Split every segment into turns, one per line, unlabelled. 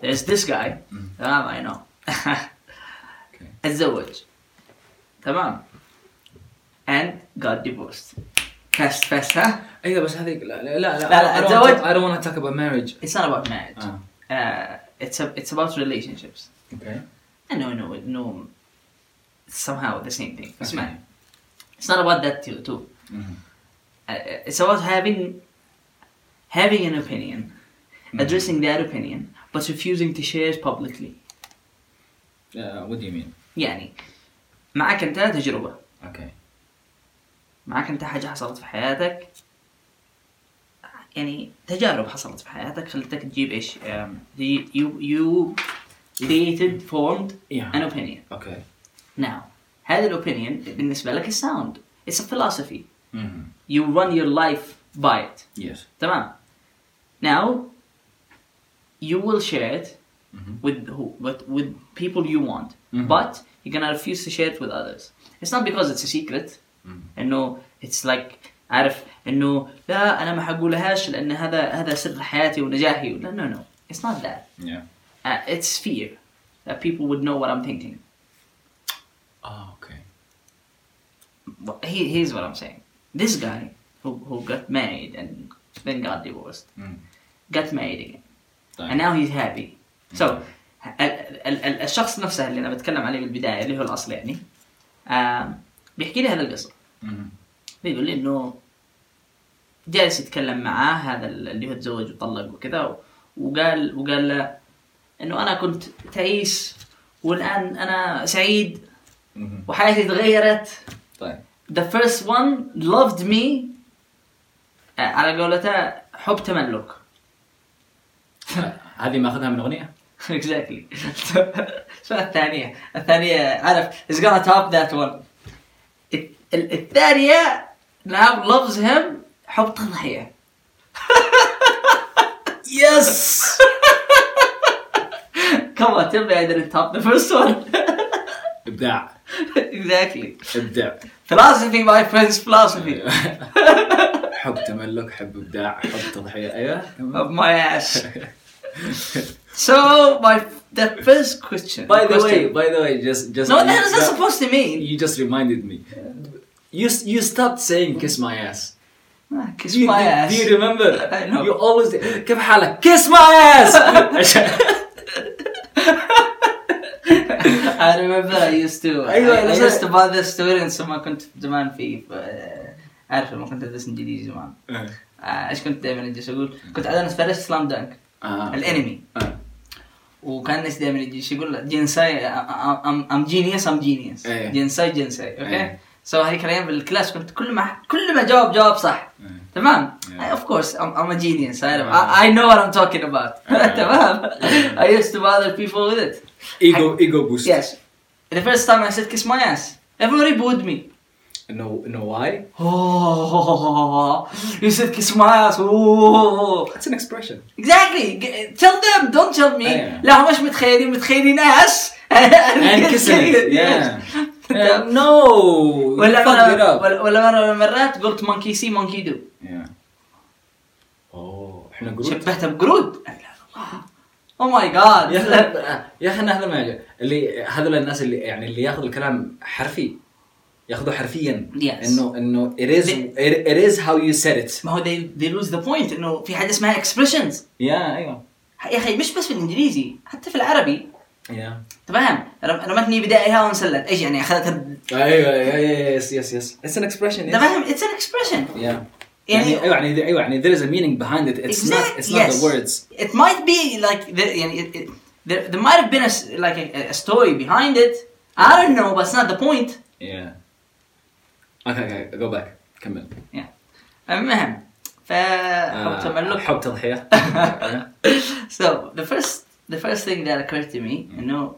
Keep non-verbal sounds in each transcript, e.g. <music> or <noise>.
there's this guy تمام I know <laughs> اتزوج تمام and got divorced fast fast ها
ايوه بس هذيك لا لا لا
لا، لا، أتزوج.
I don't want to talk about marriage
it's not about marriage
اه
uh, it's a, it's about relationships
اوكي
I know no no somehow the same thing بس ما
Okay.
it's not about that too too
مهم.
uh, it's about having having an opinion addressing that opinion but refusing to share it publicly
Yeah, Uh, what do you mean
يعني معك انت تجربه
اوكي
معك انت حاجه حصلت في حياتك يعني تجارب حصلت في حياتك خلتك تجيب ايش um, the- you you created formed
Yeah.
an opinion
اوكي
now هذا الاوبينيون بالنسبه لك sound it's a philosophy
مهم.
you run your life by it
Yes.
تمام now you will share it
Mhm.
with who, with, with people you want
Mhm.
but you're gonna refuse to share it with others it's not because it's a secret انه it's like عارف انه لا انا ما حقولهاش لان هذا هذا سر حياتي ونجاحي لا no no it's not that
Yeah.
uh, it's fear that people would know what I'm thinking
Oh, okay.
But he, here's what I'm saying this guy who, who got married and then got divorced
Mm.
got married again
طيب.
and now he's happy so ال- ال- ال- الشخص نفسه اللي انا بتكلم عليه بالبدايه اللي هو الاصل يعني آم، بيحكي لي هذا القصه
مهم.
بيقول لي انه جالس يتكلم معاه هذا اللي هو تزوج وطلق وكذا و- وقال وقال له انه انا كنت تعيس والان انا سعيد
مهم.
وحياتي تغيرت
طيب.
the first one loved me آه، على قولته حب تملك
<laughs> هذه ماخذها من اغنيه؟
<laughs> exactly <laughs> شو الثانية الثانية عارف is gonna top that one ال- ال- الثانية now loves him حب تضحية <laughs>
<laughs> يس
come on tell me I didn't top the first one <laughs>
ابداع
exactly
ابداع
philosophy my friends philosophy
حب تملك حب ابداع حب تضحيه ايوه
of my ass so my the first question
باي ذا
question-
واي باي ذا واي just just
no that is not supposed to mean
you just reminded me you you stopped saying kiss my ass
Ah, kiss
You-
my
do-
ass
do you remember
I know.
you always كيف حالك kiss my
<laughs>
ass <laughs> عشان-
<laughs> I remember I used to I,
أيوة،
I
أنا-
used to buy this students لما كنت زمان في في- عارف لما كنت ادرس انجليزي زمان آه، ايش كنت دائما اجلس اقول كنت عاده اتفرج سلام دانك
آه.
الانمي
آه.
وكان الناس دائما يجلس يقول لا، جنساي ام جينيوس ام جينيوس
إيه.
جنساي جنساي اوكي
إيه.
سو هذيك الايام بالكلاس كنت كل ما كل ما جاوب جواب صح
إيه.
تمام
إيه.
اوف كورس ام ا جينيوس
آه.
اي نو وات ام توكينج اباوت
آه.
<laughs> تمام
إيه.
اي used to bother people with it
ايجو ايجو بوست
Yes. The first time I said kiss my ass, everybody booed me.
No, no, why?
Oh, <laughs> you said kiss my ass. Oh.
That's an
<laughs>
expression.
Exactly. G- Tell them, don't tell me.
Yeah.
لا هم مش متخيلين متخيلين ass. <laughs>
And kiss it.
Yes.
Yeah. Uh, no. you
ولا
fucked it
مرة
up.
ولا- ولا مرة من المرات قلت monkey see monkey do
Yeah. Oh, احنا جروب.
شبهتها بقرود Oh my god
يا
<laughs>
اخي يا اخي انا هذا ما يعجب. اللي هذول الناس اللي يعني اللي ياخذوا الكلام حرفي ياخذوه حرفيا
Yes.
انه انه it is
They-
it, it is how you said it.
ما هو they, they lose the point انه في حاجة اسمها expressions
يا ايوه.
يا اخي مش بس بالانجليزي حتى في العربي
يا
تمام رم- رمتني بدائها وانسلت ايش يعني اخذتها
ايوه يس يس يس اتس ان اكسبريشن
انت فاهم اتس ان اكسبريشن
يعني
يعني-
ايوه يعني ايوه يعني there is a meaning behind it it's not it's not the words
It might be like the, يعني it, it, there, there might have been a, s- like a, a story behind it. I don't know, but it's not the point.
Yeah. Okay, okay, go back. كمل.
Yeah. المهم ف حب
آه،
تملك <laughs>
حب تضحية.
so the first the first thing that occurred to me انه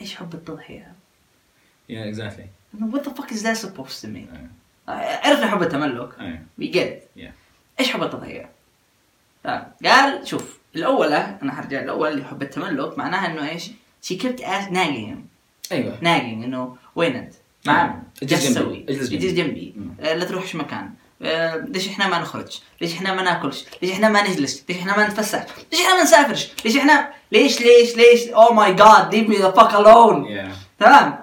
ايش حب التضحية؟
yeah, exactly.
انه what the fuck is that supposed to mean؟
أيوة.
عرفنا حب التملك
أيوة.
we get it.
Yeah.
ايش حب التضحيه؟ طيب قال شوف الاولى انا حرجع الاول اللي حب التملك معناها انه ايش؟ شي كيبت اس ناجينج
ايوه.
ناجينج انه وين انت؟ معانا
نعم، اجلس
جالس
جنبي.
تسوي
اجلس جنبي.
اجلس جنبي
مم.
آه، لا تروحش مكان آه، ليش احنا ما نخرج؟ ليش احنا ما ناكلش؟ ليش احنا ما نجلس؟ ليش احنا ما نتفسح؟ ليش احنا ما نسافرش؟ ليش احنا ليش ليش ليش؟ اوه ماي جاد leave me the fuck alone
Yeah.
تمام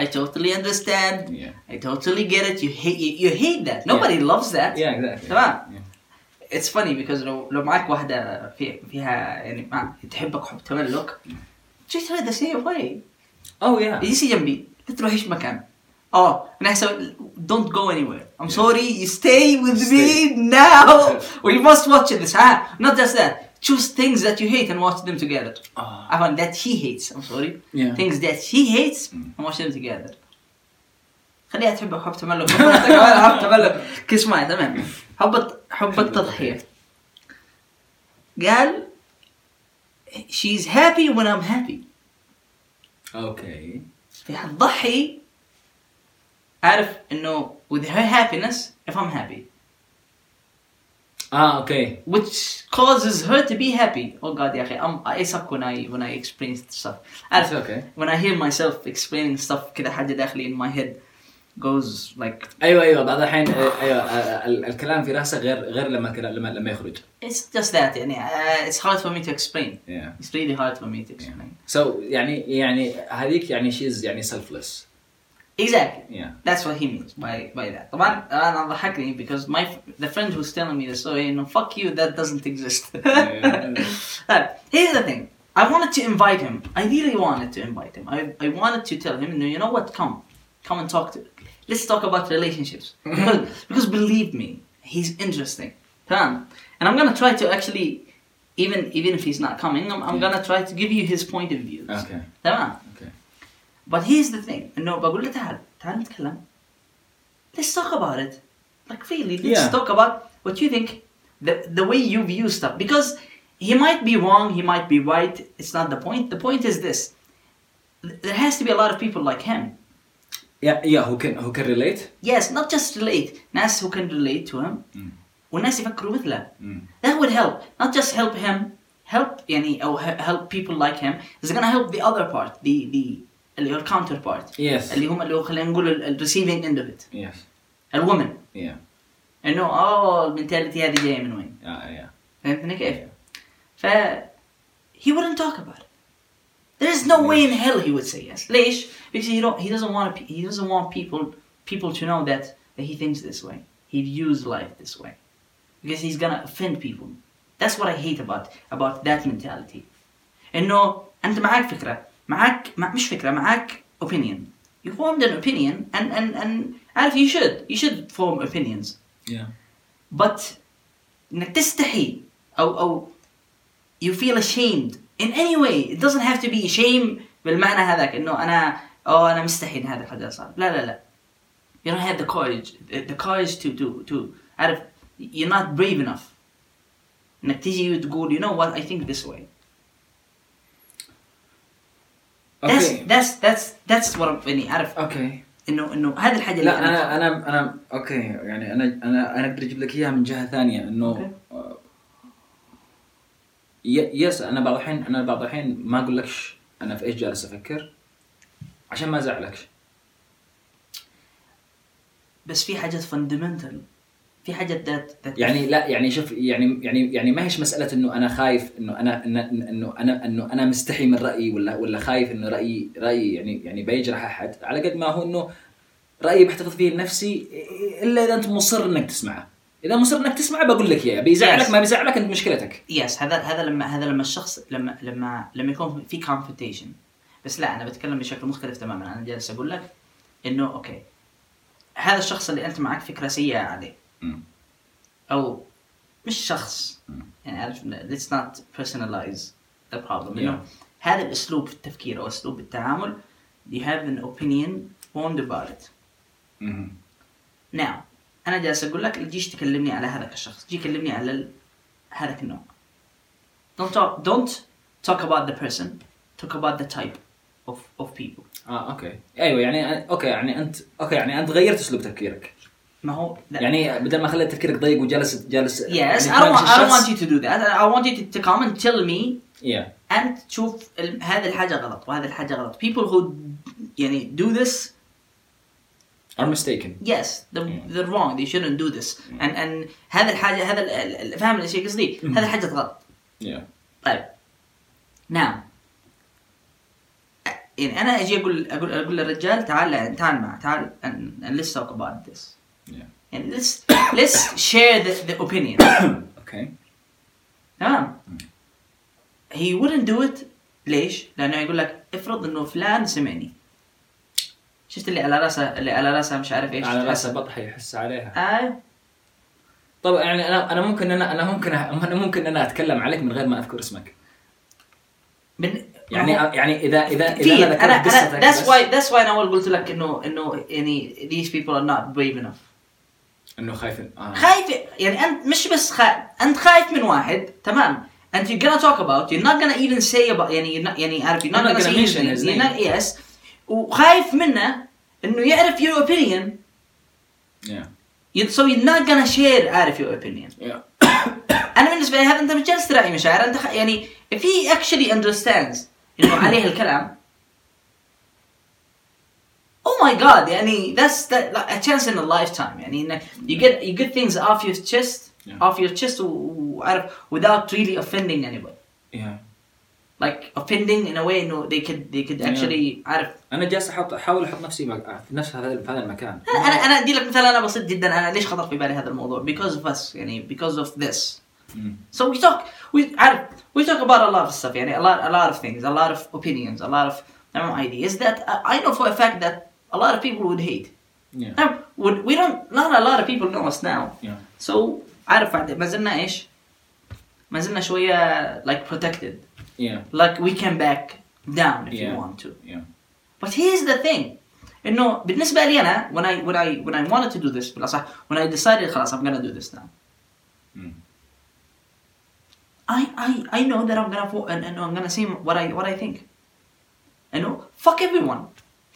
I totally understand
Yeah.
I totally get it you hate you, you hate that nobody loves that
Yeah, exactly.
تمام.
Yeah.
It's funny because لو لو معك واحدة في فيها يعني مع تحبك حب تملك just her the same way
Oh yeah.
يجي جنبي لا تروحيش مكان اه انا احسن don't go anywhere I'm sorry you stay with
Stay.
me
<laughs>
now we must watch this ها not just that choose things that you hate and watch them together
Ah.
I mean that he hates I'm sorry
Yeah.
things that he hates
Mm.
and watch them together خليها تحبك حب
<laughs>
تملك كمان حب تملك كيس معي تمام حب الت- حب التضحية قال she's happy when I'm happy
Okay.
فهي حتضحي عارف انه with her happiness if I'm happy
Ah okay.
which causes her to be happy oh god يا اخي I'm, I suck when I when I explain stuff عارف
It's okay.
when I hear myself explaining stuff كذا حاجة داخلي in my head goes like
ايوه ايوه بعض الحين ايوه آه، ال- الكلام في راسه غير غير لما الكلام- لما لما يخرج.
it's just that يعني uh, it's hard for me to explain
Yeah.
it's really hard for me to explain
So يعني يعني هذيك يعني she's يعني selfless.
exactly
Yeah.
That's what he means by by that. uh, طبعا انا ضحكني because my the friend who's telling me the story انه fuck you that doesn't exist. <laughs> طيب here's the thing. I wanted to invite him. I really wanted to invite him. I, I wanted to tell him, no, you know what? Come, come and talk to. Let's talk about
<laughs>
relationships because, because believe me, he's interesting. Come, and I'm gonna try to actually, even even if he's not coming, I'm, I'm
Yeah.
gonna try to give you his point of view.
Okay.
تمام.
Okay.
But here's the thing. انه بقول له تعال تعال نتكلم. Let's talk about it. Like really, let's
Yeah.
talk about what you think. The the way you view stuff. Because he might be wrong, he might be right. It's not the point. The point is this. Th- There has to be a lot of people like him.
Yeah yeah who can who can relate?
Yes, not just relate. ناس who can relate to him.
Mm.
والناس يفكروا مثله.
Mm.
That would help. Not just help him. Help يعني أو he- help people like him. It's gonna help the other part. The the اللي هو ال counterpart.
Yes.
اللي هم اللي هو خلينا نقول ال- ال- receiving end of it
Yes.
الومن
Yeah.
انه اه المنتاليتي هذه جايه من وين
Yeah yeah.
فهمتني كيف؟ ف he wouldn't talk about it there is no way in hell he would say yes ليش؟ because he don't he doesn't want he doesn't want people people to know that that he thinks this way he views life this way because he's gonna offend people that's what I hate about about that mentality انه انت معاك فكره معاك مع مش فكره معاك opinion you formed an opinion and and and عارف you should you should form opinions
Yeah.
but انك تستحي او او you feel ashamed in any way it doesn't have to be shame بالمعنى هذاك انه انا او انا مستحي ان هذا الحدث صار لا لا لا you don't have the courage the courage to to to عارف you're not brave enough انك تجي وتقول you know what I think this way that's
Okay.
that's that's that's what I'm يعني عارف
Okay.
انه انه هذه الحاجه اللي
لا انا انا انا اوكي يعني انا انا انا اقدر اجيب لك اياها من جهه ثانيه انه ي- يس انا بعض الحين انا بعض الحين ما اقول لكش انا في ايش جالس افكر عشان ما ازعلكش
بس في حاجات fundamental في حاجات that, that
يعني لا يعني شوف يعني يعني يعني ما هيش مساله انه انا خايف انه انا انه انه انا انه انا مستحي من رايي ولا ولا خايف انه رايي رايي يعني يعني بيجرح احد على قد ما هو انه رايي بحتفظ فيه لنفسي الا اذا انت مصر انك تسمعه اذا مصر انك تسمعه بقول لك اياه بيزعلك ما بيزعلك انت مشكلتك
يس هذا هذا لما هذا لما الشخص لما لما لما يكون في كونفrontation بس لا انا بتكلم بشكل مختلف تماما انا جالس اقول لك انه اوكي هذا الشخص اللي انت معك فكره سيئه عليه او مش شخص يعني عارف let's not personalize the problem
Yeah.
you know هذا الاسلوب في التفكير او اسلوب التعامل you have an opinion formed about it
مم.
now انا جالس اقول لك تجيش تكلمني على هذاك الشخص جي كلمني على ال... هذاك النوع don't talk don't talk about the person talk about the type of of people
اه اوكي ايوه يعني أ- اوكي يعني انت اوكي يعني انت غيرت اسلوب تفكيرك
ما هو لا.
يعني بدل ما خليت تفكيرك ضيق يعني وجالس جالس
yes I don't want I don't want you to do that I want you to, to come and tell me
yeah
and تشوف ال... هذه الحاجة غلط وهذه الحاجة غلط people who يعني do this
are mistaken
yes they're, they're wrong they shouldn't do this and and هذا الحاجه هذا ال- ال- فاهم الشيء قصدي هذا حاجه غلط
yeah
طيب نعم يعني انا اجي اقول اقول اقول للرجال تعال تعال مع تعال and, and let's talk about this
yeah
يعني let's let's share the, the opinion
okay
تمام he wouldn't do it ليش؟ لانه يقول لك افرض انه فلان سمعني شفت اللي على راسه اللي على راسه مش عارف ايش
على راسه بطحه يحس عليها
آه.
طبعا يعني انا انا ممكن انا انا ممكن انا ممكن انا اتكلم عليك من غير ما اذكر اسمك
من...
يعني يعني اذا اذا اذا
كثير
انا
انا
ذكرت
انا
قصتك
that's
بس
why that's why انا اول قلت لك انه انه يعني these people are not brave enough
انه خايفين آه.
خايف يعني انت مش بس خايف انت خايف من واحد تمام and you're gonna talk about you're not gonna even say about يعني you're not, يعني عارف you're not,
You're
gonna,
not gonna
say
mention
anything.
his
You're
name.
not- yes وخايف منه انه يعرف your opinion
yeah.
You- so you're not gonna share عارف your opinion
Yeah.
انا بالنسبه لي هذا انت مش جالس تراعي مشاعر انت خ... يعني if he actually understands
<coughs>
انه عليه الكلام oh my god يعني that's that, like a chance in a lifetime يعني انك you get you get things off your chest
Yeah.
off your chest و- وعارف without really offending anybody
yeah.
like offending in a way انه they could they could
Yeah.
actually عارف
انا جالس احط احاول احط نفسي مك... في نفس هذا في هذا المكان
انا انا أنا ادي لك مثال انا بسيط جدا انا ليش خطر في بالي هذا الموضوع because of us يعني because of this
مم.
So we talk, we عارف, we talk about a lot of stuff, يعني a lot, a lot of things, a lot of opinions, a lot of um, ideas that uh, I know for a fact that a lot of people would hate.
Yeah.
Um, would, we don't, not a lot of people know us now.
Yeah.
So عارف بعد- ما زلنا ايش؟ ما زلنا شوية like protected,
Yeah.
like we can back down if
Yeah.
you want to.
Yeah.
But here's the thing انه بالنسبة لي انا when I when I when I wanted to do this بالاصح when I decided خلاص I'm gonna do this now
مم.
I I I know that I'm gonna fo- and, and I'm gonna say what I what I think. I know. Fuck everyone.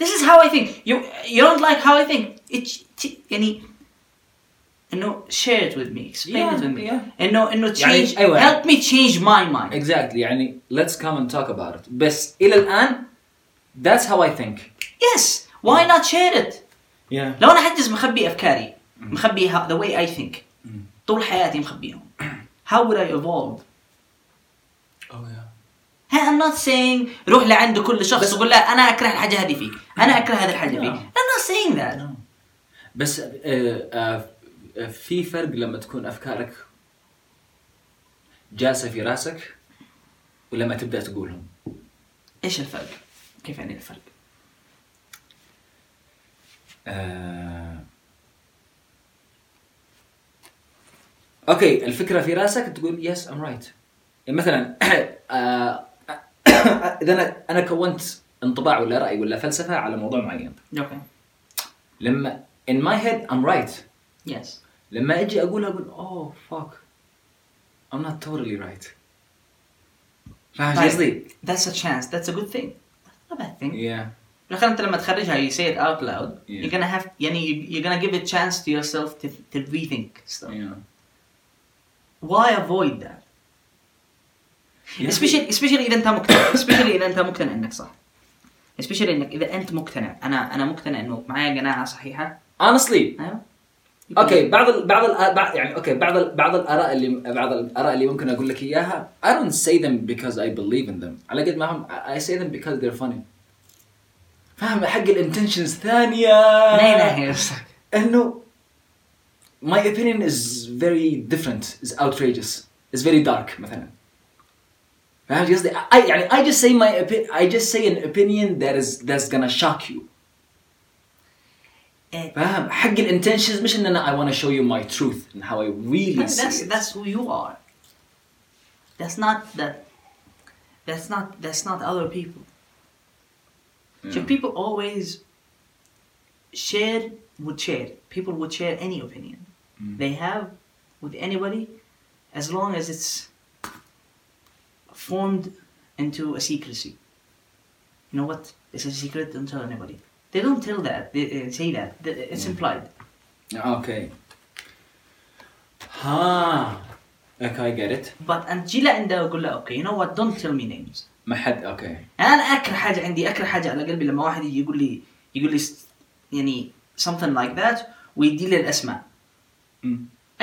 This is how I think. You you don't like how I think. It t- any. And no, share it with me. Explain
Yeah,
it with me.
yeah.
And no, and no,
يعني-
change.
أيوة.
Help me change my mind.
Exactly. يعني let's come and talk about it. بس الى الان that's how I think.
Yes. Why not share it?
Yeah.
لو انا حجز مخبي افكاري مخبي ها- the way I think طول حياتي مخبيهم. How would I evolve?
Oh yeah.
ها I'm not saying روح لعند كل شخص
بس-
وقول له انا اكره الحاجه هذه فيك، انا اكره هذه الحاجه فيك.
No.
I'm not saying that.
بس آه، آه، آه، في فرق لما تكون افكارك جالسه في راسك ولما تبدا تقولهم.
ايش الفرق؟ كيف يعني الفرق؟
آه... اوكي الفكره في راسك تقول يس ام رايت مثلا يعني <coughs> آه، <coughs> اذا انا انا كونت انطباع ولا راي ولا فلسفه على موضوع معين
اوكي
لما in my head I'm right
يس
لما اجي اقولها اقول اوه فاك I'm not totally right فاهم شو قصدي؟
That's a chance, that's a good thing. That's not a bad thing.
Yeah.
بالاخير انت لما تخرجها you say it out loud,
Yeah.
you're gonna have يعني you- you're gonna give a chance to yourself to, to rethink stuff.
Yeah.
Why avoid that?
يا أخي-
especially especially اذا انت مقتنع <coughs> especially اذا انت مقتنع انك صح. especially انك اذا انت مقتنع انا انا مقتنع انه معايا قناعه صحيحه
honestly
<laughs> ايوه
اوكي بعض ال بعض ال بعض يعني اوكي بعض ال بعض الاراء اللي بعض الاراء اللي ممكن اقول لك اياها I don't say them because I believe in them على قد ما هم I say them because they're funny فاهم حق الانتنشنز ثانيه
من اي ناحيه نفسك؟
انه my opinion is very different is outrageous is very dark مثلا فاهم قصدي I يعني I just say my opi- I just say an opinion that is that's gonna shock you
إيه.
فاهم حق الانتنشنز مش ان انا I want to show you my truth and how I really see
that's
it.
that's who you are. That's not that. That's not that's not other people. So people always share would share. People would share any opinion they have with anybody, as long as it's formed into a secrecy. You know what? It's a secret. Don't tell anybody. They don't tell that. They uh, say that. They- It's implied.
اوكي ها اوكي اي جيت ات
But until and أقول له okay, you know what? Don't tell me names.
ما حد اوكي
انا اكره حاجه عندي اكره حاجه على قلبي لما واحد يجي يقول لي يقول لي س- يعني something like that ويدي لي الاسماء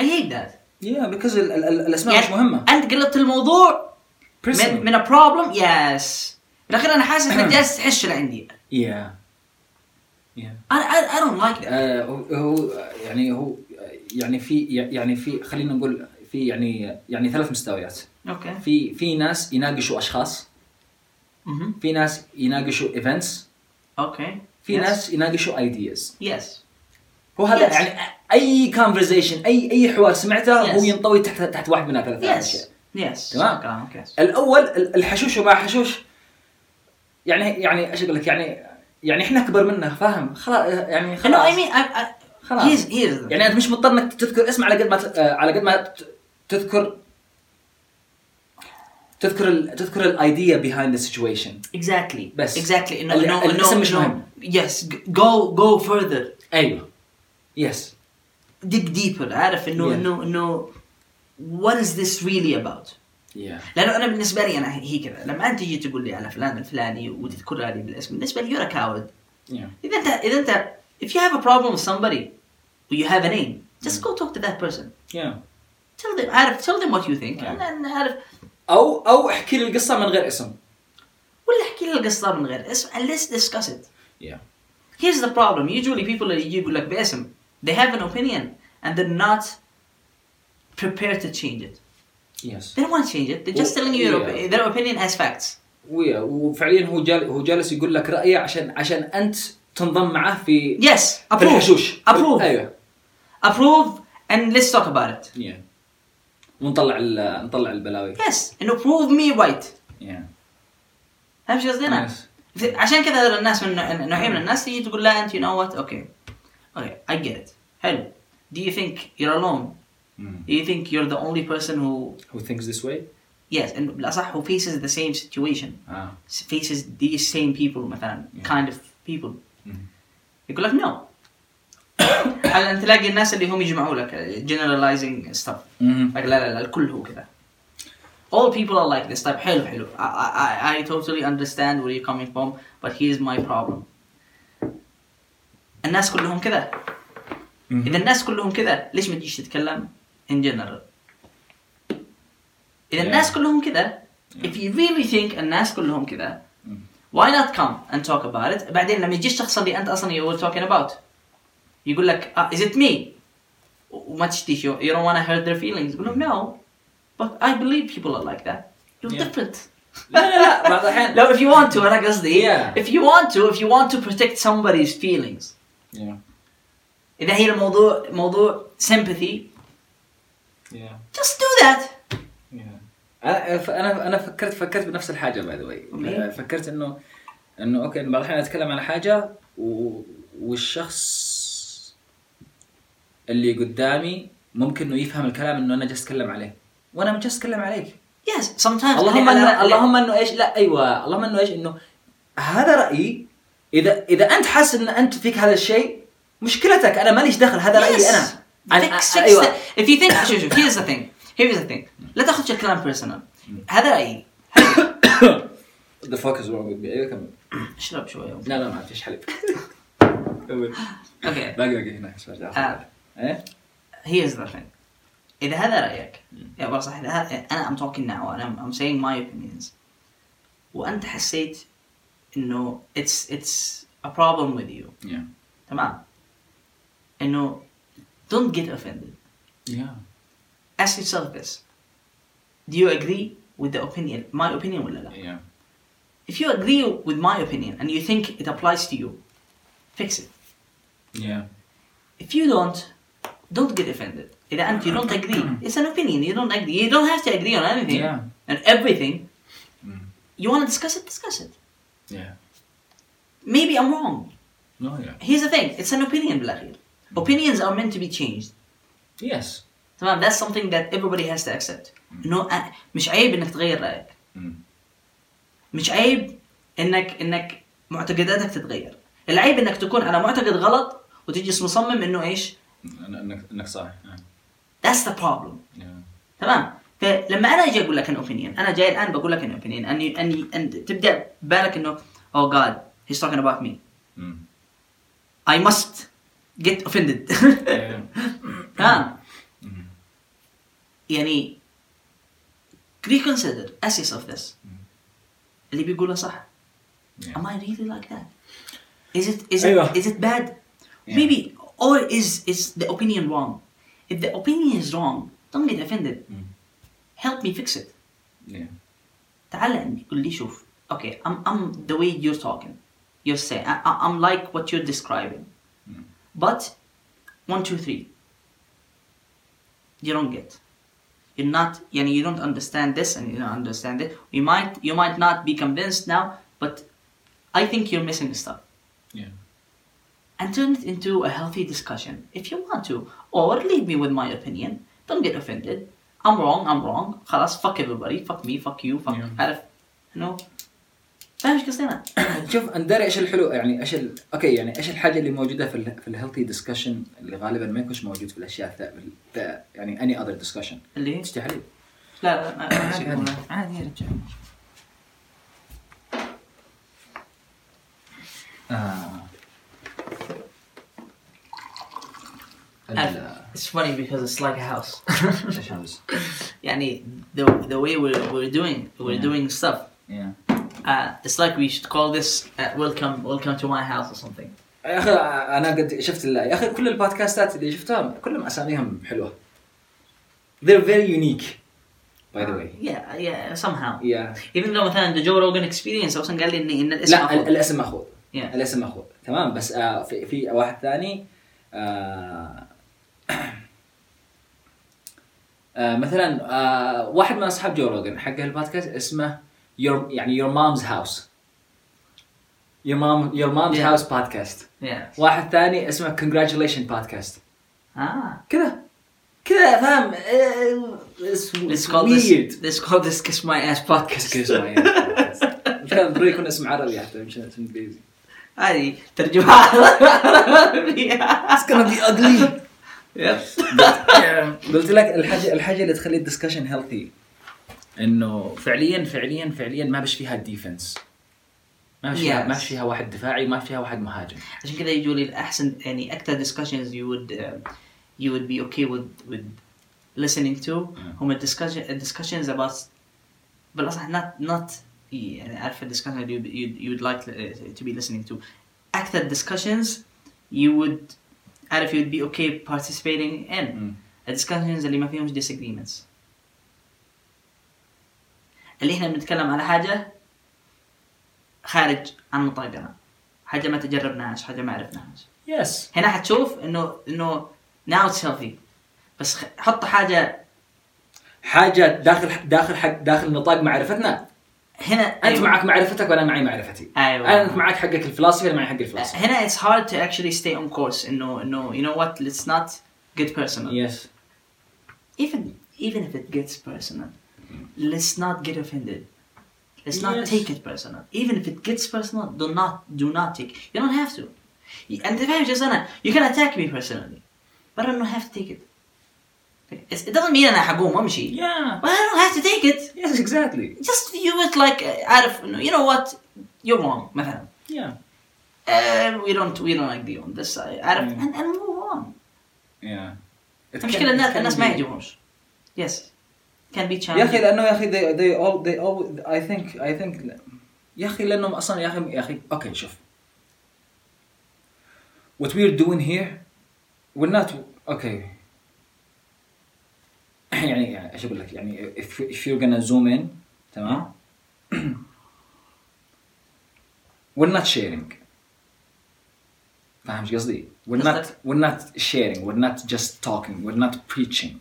I hate that
يا بيكوز الاسماء مش
يعني
مهمه
انت قلبت الموضوع من, من a problem yes لكن انا حاسس
<clears throat>
انك جالس تحش اللي عندي
يا يا
انا I, I don't like that
آه، هو- هو يعني هو يعني في يعني في خلينا نقول في يعني يعني ثلاث مستويات
اوكي
Uh, في في ناس يناقشوا اشخاص
مهم.
في ناس يناقشوا ايفنتس
اوكي
في ناس يناقشوا ايدياز
يس
هو هذا
Yes.
يعني اي كونفرزيشن اي اي حوار سمعته
Yes.
هو ينطوي تحت تحت واحد من هذا الثلاث
يس
اشياء
يس
تمام.
اوكي
الاول ال- الحشوش وما حشوش يعني يعني ايش اقول لك يعني يعني احنا اكبر منه فاهم خلاص يعني خلاص
no I mean I, I,
خلاص.
here's here's the-
يعني انت مش مضطر انك تذكر اسم على قد ما ت- آه، على قد ما ت- تذكر تذكر ال... تذكر الايديا behind the situation
exactly
بس.
exactly no
ال-
no
الاسم مش
no, no
مهم.
yes g- go go further
ايوه يس
dig deeper عارف انه
Yeah.
انه انه what is this really about
يا
لانه انا بالنسبه لي انا هي كذا لما انت تجي تقول لي على فلان الفلاني وتذكرها لي بالاسم بالنسبه لي you're a coward
يا
اذا انت اذا انت if you have a problem with somebody or you have a name just go talk to that person
يا
tell them عارف tell them what you think
Yeah.
and then عارف
او او احكي لي القصه من غير اسم
ولا احكي لي القصه من غير اسم and let's discuss it
يا
here's the problem usually people اللي يجيبوا لك باسم they have an opinion and they're not prepared to change it
يس
they don't want to change it they're just
Well,
telling you your
yeah.
op- their opinion as facts
ويا وفعليا هو جال... هو جالس يقول لك رايه عشان عشان انت تنضم معه في
yes
في الحشوش
approve approve
ايوه
approve and let's talk about it
يا ونطلع ال... نطلع البلاوي
yes انه prove me right
يا
فاهم شو قصدي انا؟
Yes.
ف- عشان كذا هذول الناس من نوع- نوعية من الناس تيجي تقول لا انت you know what okay okay I get it حلو do you think you're alone do you think you're the only person who
who thinks this way
yes and بالاصح who faces the same situation
اه
faces these same people مثلا
Yeah.
kind of people
مم.
يقول لك no <coughs> على ان تلاقي الناس اللي هم يجمعوا لك uh, generalizing stuff
مهم.
like لا لا لا الكل هو كذا all people are like this طيب حلو حلو I, I, I totally understand where you're coming from but here's my problem الناس كلهم كذا
مم.
اذا الناس كلهم كذا ليش ما تجيش تتكلم in general اذا
Yeah.
الناس كلهم كذا if you really think الناس كلهم كذا
مم.
why not come and talk about it بعدين لما يجي الشخص اللي انت اصلا you were talking about يقول لك ah, is it me وما تشتيش you, you don't want to hurt their feelings يقول لهم no but I believe people are like that you're
Yeah.
different
لا لا لا بعض الاحيان
لو if you want to انا قصدي
Yeah.
if you want to if you want to protect somebody's feelings
Yeah,
اذا هي الموضوع موضوع sympathy
yeah,
just do that
yeah. انا ف- انا انا فكرت فكرت بنفس الحاجه باي ذا واي
Okay.
أه، فكرت انه انه اوكي إنه بعض الاحيان اتكلم على حاجه و... والشخص اللي قدامي ممكن انه يفهم الكلام انه انا جالس اتكلم عليه وانا جالس اتكلم عليك
yes sometimes
اللهم
اللي-
انه اللهم انه ايش لا ايوه اللهم انه ايش انه هذا رايي اذا اذا انت حاسس ان انت فيك هذا الشيء مشكلتك انا ماليش دخل هذا رايي انا
Fix,
انا
fix
ايوه
the- if you think شوف شوف here's the thing here's the thing لا تاخذش الكلام بيرسونال هذا رايي
<coughs> The fuck is wrong with me ايوه كمل
اشرب شويه
لا لا ما فيش حليب كمل
اوكي
باقي باقي هناك بس برجع آخذ.
آه.
ايه
here's the thing اذا هذا رايك يا بابا صح اذا هذا انا I'm talking now and I'm, I'm saying my opinions وانت حسيت انه it's it's a problem with you
يا
تمام انه don't get offended
يا
ask yourself this do you agree with the opinion my opinion ولا لا
يا
if you agree with my opinion and you think it applies to you fix it
يا
if you don't don't get offended اذا انت you don't agree it's an opinion you don't agree you don't have to agree on anything
Yeah.
and everything you want to discuss it discuss it
يا
maybe I'm wrong
نو يا
here's the thing it's an opinion بالاخير opinions are meant to be changed
يس
تمام that's something that everybody has to accept انه أ- مش عيب انك تغير رايك مش عيب انك انك معتقداتك تتغير العيب انك تكون على معتقد غلط وتجي مصمم انه ايش
انك انك صح
that's the problem
يا
تمام فلما انا اجي اقول لك ان اوبينيون انا جاي الان بقول لك ان اوبينيون اني اني أن تبدا بالك انه oh god he's talking about me I must جيت اوفندد ها <laughs> يعني reconsider essence of this اللي بيقوله صح am I really like that is it is it
أيوة.
is it bad
Yeah.
maybe or is is the opinion wrong if the opinion is wrong don't get offended help me fix it تعال عندي قول لي شوف okay I'm I'm the way you're talking you're saying I, I- I'm like what you're describing but one two three you don't get you're not يعني you don't understand this and you don't understand it you might you might not be convinced now but I think you're missing stuff and turn it into a healthy discussion if you want to or leave me with my opinion don't get offended I'm wrong I'm wrong خلاص fuck everybody fuck me fuck you fuck
Yeah.
عارف you know فاهم ايش قصدي انا؟
شوف انا داري ايش الحلو يعني ايش ال- اوكي يعني ايش الحاجه اللي موجوده في ال في الهيلثي ديسكشن اللي غالبا ما يكونش موجود في الاشياء الث- الث- يعني اني اذر ديسكشن
اللي هي
تشتهي حليب
لا لا ما- ما
عادي،
شيء
عادي.
يقولها. عادي يا رجال
آه. ال-
It's funny because it's like a
<laughs>
house.
ايش هذا؟
يعني the the way we're we're doing we're
Yeah.
doing stuff.
Yeah.
Uh, it's like we should call this uh, welcome welcome to my house or something.
يا اخي انا قد شفت ال- يا اخي كل البودكاستات اللي شفتها كلهم اساميهم حلوه. They're very unique by the way.
Yeah yeah somehow.
Yeah.
Even though مثلا the Joe Rogan experience اصلا قال لي ان ان الاسم
لا ال-
أفضل.
الاسم ماخوذ.
Yeah.
الاسم ماخوذ تمام بس آه في, في واحد ثاني آه آه مثلا آه واحد من اصحاب جو روجن حق البودكاست اسمه your يعني your mom's house. Your mom your mom's
Yeah.
house podcast.
Yeah.
واحد ثاني اسمه congratulation podcast.
Ah.
كذا كذا فاهم آه، it's
Let's
it's
call this
weird
let's call this kiss my ass podcast.
<laughs> كان ضروري يكون اسم عربي حتى مش اسم انجليزي
هذه ترجمة <laughs> عربية.
It's gonna be ugly
Yes.
قلت لك الحاجه الحاجه اللي تخلي الدسكشن هيلثي انه فعليا فعليا فعليا ما بش فيها ديفنس ما بش فيها
Yes.
ما بش فيها واحد دفاعي ما فيها واحد مهاجم
عشان كذا يجوا لي الاحسن يعني اكثر discussions you would uh, you would be okay with with listening to هم discussion discussions about بالاصح not not يعني عارف ال discussion you you you would like uh, to be listening to اكثر discussions you would عارف you would be okay participating in
مم.
ال discussions اللي ما فيهمش disagreements اللي احنا بنتكلم على حاجة خارج عن نطاقنا حاجة ما تجربناهاش حاجة ما عرفناهاش
يس
هنا حتشوف انه انه ناو اتس هيلثي بس خ- حط حاجه
حاجه داخل داخل حق داخل نطاق معرفتنا
هنا
انت معك معرفتك وانا معي معرفتي
ايوه
انت معك حقك الفلاسفي انا معي حق الفلاسفي
هنا it's hard to actually stay on course انه انه you know what let's not get personal
يس
even even if it gets personal let's not get offended let's not
Yes.
take it personal even if it gets personal do not do not take you don't have to Y- انت فاهم شو انا you can attack me personally but I don't have to take it It's- it doesn't mean انا حقوم وامشي
يا
but I don't have to take it
يس اكزاكتلي
just view it like uh, عارف انه you know what you're wrong مثلا
يا
uh, we don't we don't agree on this side عارف
Mm.
and, and move on
يا
المشكله الناس الناس ما يعجبهمش yes can be challenging
يا اخي لانه يا اخي they, they all they all I think I think يا اخي لانهم اصلا يا اخي يا اخي اوكي شوف what we're doing here we're not okay <clears throat> يعني يعني ايش اقول لك يعني if, if you're gonna zoom in تمام <clears throat> we're not sharing فاهم ايش قصدي؟ we're not
قصدك؟
we're not sharing we're not just talking we're not preaching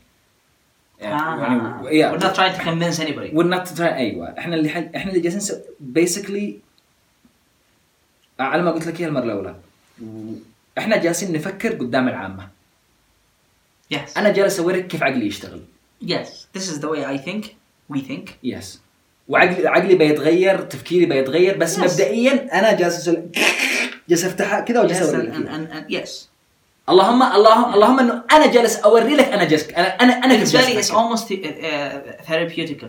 يعني،
آه.
yeah.
Ah. we're not trying to convince anybody
we're not trying ايوه احنا اللي حل... احنا اللي جالسين نسوي basically على ما قلت لك اياها المره الاولى احنا جالسين نفكر قدام العامه
yes
انا جالس اوريك كيف عقلي يشتغل
yes this is the way I think we think
يس وعقلي عقلي بيتغير تفكيري بيتغير بس
Yes.
مبدئيا انا جالس أسوي- جالس افتحها كذا وجالس
yes
اوري
and,
لك
and,
إياها.
and, and yes
اللهم اللهم اللهم انه انا جالس اوري لك انا جالس انا انا انا كيف
بالنسبه لي
جالس
it's almost the- uh, therapeutical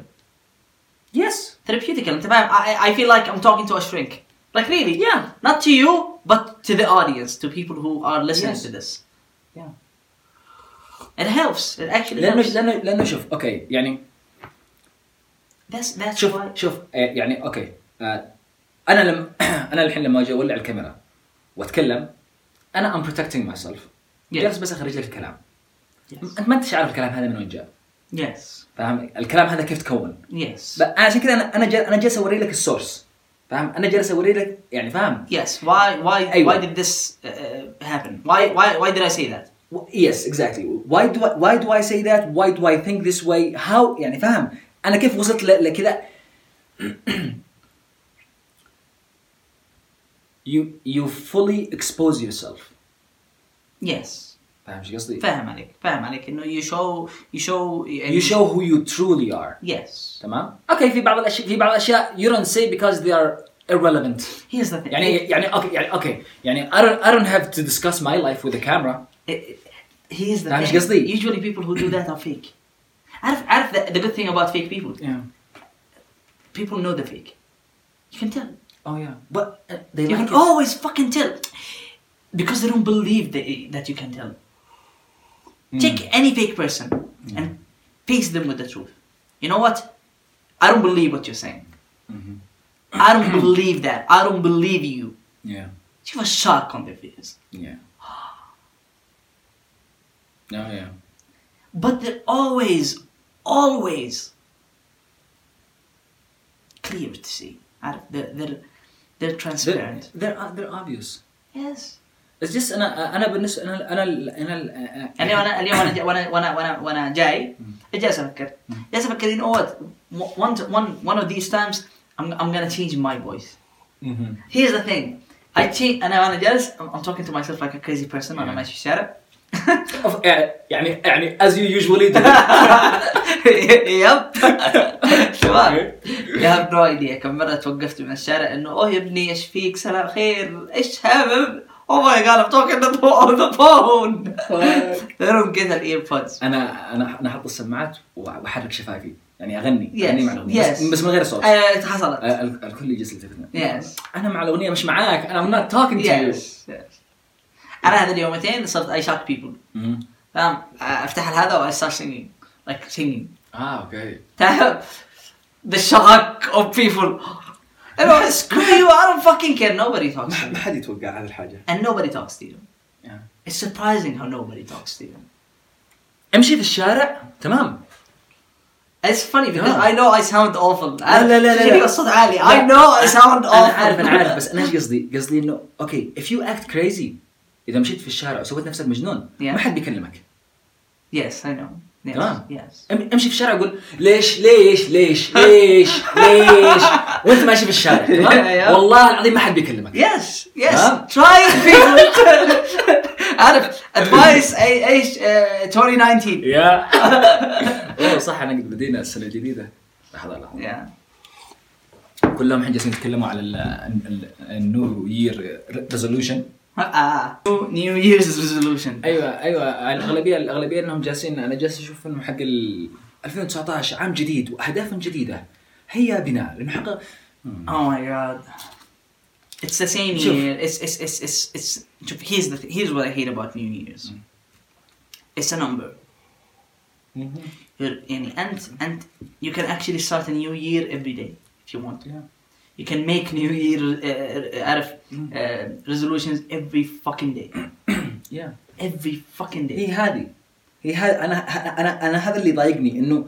يس
therapeutical انت فاهم I, I feel like I'm talking to a shrink like really yeah not to you but to the audience, to people who are listening
Yes.
to this.
Yeah.
It helps. It actually
لانه
helps.
لانه لانه شوف اوكي يعني
That's that's
شوف
why.
شوف آه، يعني اوكي آه، انا لم <clears throat> انا الحين لما اجي اولع الكاميرا واتكلم انا ام بروتكتنج ماي سيلف
Yes.
جالس بس اخرج لك الكلام
Yes.
انت ما انتش عارف الكلام هذا من وين جاء
Yes.
فاهم الكلام هذا كيف تكون
Yes.
ب- أنا عشان كذا انا انا جا- انا جالس اوري لك السورس فاهم انا جالس اوري لك يعني فاهم
yes. Why why
أيوة.
why did this uh, uh, happen? Why why why did I say that?
يس اكزاكتلي واي دو واي دو اي سي ذات واي دو اي ثينك ذس واي هاو يعني فاهم انا كيف وصلت ل- لكذا <clears throat> you you fully expose yourself
Yes.
فاهم شو قصدي؟
فاهم عليك فاهم عليك انه you show you show
you show who you truly are
yes
تمام؟ اوكي في بعض الاشياء في بعض الاشياء you don't say because they are irrelevant
here's the thing
يعني يعني اوكي يعني اوكي يعني I don't I don't have to discuss my life with the camera
here's the
فاهم
thing
ايش قصدي؟
usually people who do that are fake عارف عارف the, the good thing about fake people
yeah
people know the fake you can tell
oh yeah but uh, they
you
like
can
it.
always fucking tell because they don't believe that, that you can tell
Hmm. Mm.
take any fake person and face them with the truth you know what i don't believe what you're saying
Mm-hmm.
i don't believe that i don't believe you
yeah
you have a shark on their face
<gasps> Yeah. No, Oh, yeah.
but they're always always clear to see عارف they're they're, they're
They're,
transparent
they're uh, they're obvious.
yes
It's just انا انا بالنسبه انا انا انا
اليوم انا اليوم انا جا- وانا وانا وانا وانا جاي جالس افكر جالس افكر ان اوت one one one of these times I'm I'm gonna change my voice
انا
here's the thing I change انا وانا جالس I'm, I'm talking to myself like a crazy person وانا
Yeah.
ماشي في الشارع
يعني يعني as you <laughs> usually do.
<laughs> يب تمام
Okay.
يا هاف نو ايديا كم مره توقفت من الشارع انه اوه يا ابني ايش فيك سلام خير ايش هابب اوه ماي جاد I'm talking on the phone
Fuck.
they don't get the earpods
انا انا انا احط السماعات واحرك شفايفي يعني اغني
Yes.
اغني مع الاغنيه بس-
Yes.
بس من غير صوت
آه، حصلت
آه، ال- الكل يجلس يلتفت
Yes.
انا مع الاغنيه مش معاك انا I'm not talking to you
Yes, yes. انا هذا اليومتين صرت اي شاك بيبل
مهم.
فاهم افتح هذا واي ستارت singing like singing
اه اوكي
تعرف the shock of people and I was screw you I don't fucking care nobody talks to
ما
you
حد يتوقع هذه الحاجه
and nobody talks to you
Yeah.
it's surprising how nobody talks to you
امشي في الشارع تمام
It's funny because
Yeah.
I know I sound awful.
لا لا لا لا
شكلي الصوت عالي. I know I sound awful.
انا عارف انا عارف بس انا ايش قصدي؟ قصدي انه اوكي اف يو اكت كريزي اذا مشيت في الشارع وسويت نفسك مجنون
Yeah.
ما حد بيكلمك
Yes, I know. Yes,
تمام
yes.
أم- امشي في الشارع وقول ليش ليش
<laughs>
ليش ليش ليش وانت ماشي في الشارع
Yeah, yeah.
تمام والله العظيم ما حد بيكلمك
Yes, yes.
Huh?
Try it, <laughs> people. عارف advice uh, اي ايش آه، 2019.
<laughs> يا اوه صح انا قد بدينا السنه الجديده لحظه لحظه
Yeah.
كلهم الحين جالسين يتكلموا على ال- ال- ال- النيو يير ريزولوشن
آه. New- Uh, New Year's resolution.
ايوه ايوه الاغلبيه الاغلبيه انهم جالسين انا جالس اشوف انه حق ال 2019 عام جديد واهداف جديده هيا بنا لنحقق
Oh my god. It's the same
شوف.
year. It's it's it's it's it's شوف here's the th- here's what I hate about New Year's. It's a number. You're- يعني أنت أنت you can actually start a new year every day if you want to. You can make new year uh, عارف uh, resolutions every fucking day.
يا
Every fucking day.
هي هذه هي هذه انا انا انا هذا اللي ضايقني انه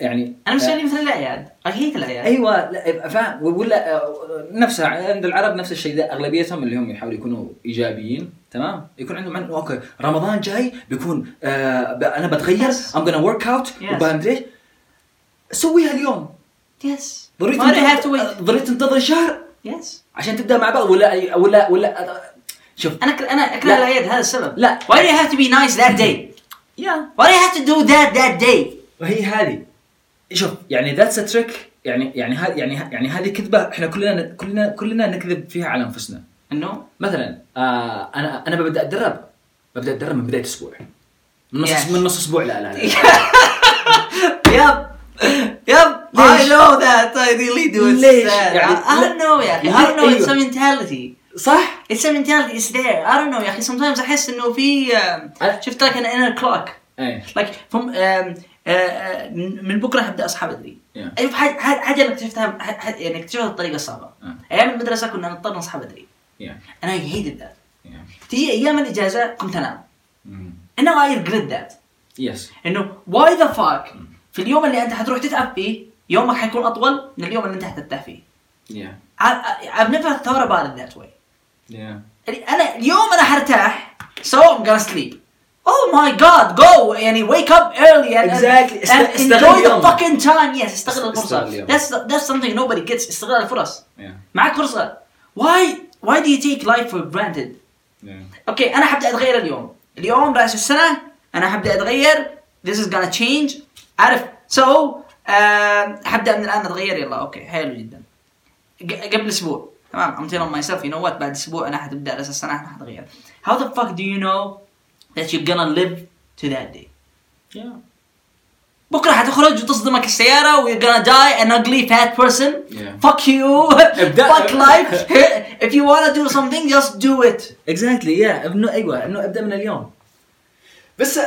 يعني
انا مستني مثل الاعياد اي هيت الاعياد
ايوه لا، فاهم ولا آه، نفسها عند العرب نفس الشيء ده اغلبيتهم اللي هم يحاولوا يكونوا ايجابيين تمام يكون عندهم عن... اوكي رمضان جاي بيكون آه ب... انا بتغير
Yes.
ام gonna ورك اوت
Yes.
وبمدري سويها اليوم
يس
ضروري
ما هاف تو
تنتظر
ويت
ضروري تنتظر شهر
يس
عشان تبدا مع بعض ولا ولا ولا شوف
انا أكل- انا اكره
لا.
الاعياد هذا السبب
لا.
why do you have to be nice that day
يا
why do you have to do that that day
وهي هذه شوف يعني ذاتس تريك يعني يعني ها يعني يعني هذه كذبه احنا كلنا كلنا كلنا نكذب فيها على انفسنا
انه
مثلا آه انا انا ببدا اتدرب ببدا اتدرب من بدايه اسبوع من نص
Yes.
من نص اسبوع لا لا, لا.
يب يب I
ليش؟
know that I really do it's
ليش؟
sad
يعني-
I I don't know يا اخي I
لا،
don't know it's
أيوة.
a mentality
صح
It's an mentality is there. I don't know يا اخي sometimes احس انه في آه،
أه.
شفت لك an inner clock
ايه
like from آم، آه، آه، من من بكره حبدا اصحى بدري.
Yeah.
ايوه حاجه حاجة- حاجه انا اكتشفتها ح- ح- يعني اكتشفتها الطريقه الصعبه.
Yeah.
ايام المدرسه كنا نضطر نصحى بدري.
يا
And I hated that.
يا
تجي ايام الاجازه قمت انام.
Mm.
And now I regret that.
يس
انه واي ذا فاك في اليوم اللي انت حتروح تتعب فيه يومك حيكون اطول من اليوم اللي انت حترتاح فيه.
يا
I- I- I've never thought about it that way.
يا
يعني انا اليوم انا حرتاح so I'm gonna sleep. Oh my god go يعني wake up early and,
Exactly.
and,
است-
and
استغل
enjoy the
يومك.
fucking time yes استغل
است-
الفرصة
استغل يومك.
that's that's something nobody gets استغلال الفرص
يا
معك فرصة why why do you take life for granted
يا
اوكي انا حبدا اتغير اليوم اليوم راس السنه انا حبدا اتغير this is gonna change عارف so آم، حبدا من الان اتغير يلا اوكي حلو جدا ق- قبل اسبوع تمام I'm telling myself you know what بعد اسبوع انا حتبدا راس السنه انا حتغير how the fuck do you know that you're gonna live to that day
يا
بكره حتخرج وتصدمك السياره ويور gonna die an ugly fat person
Yeah.
fuck you
<laughs> ابدأ.
fuck life <laughs> if you wanna do something just do it
اكزاكتلي يا انه ايوه انه ابدا من اليوم بس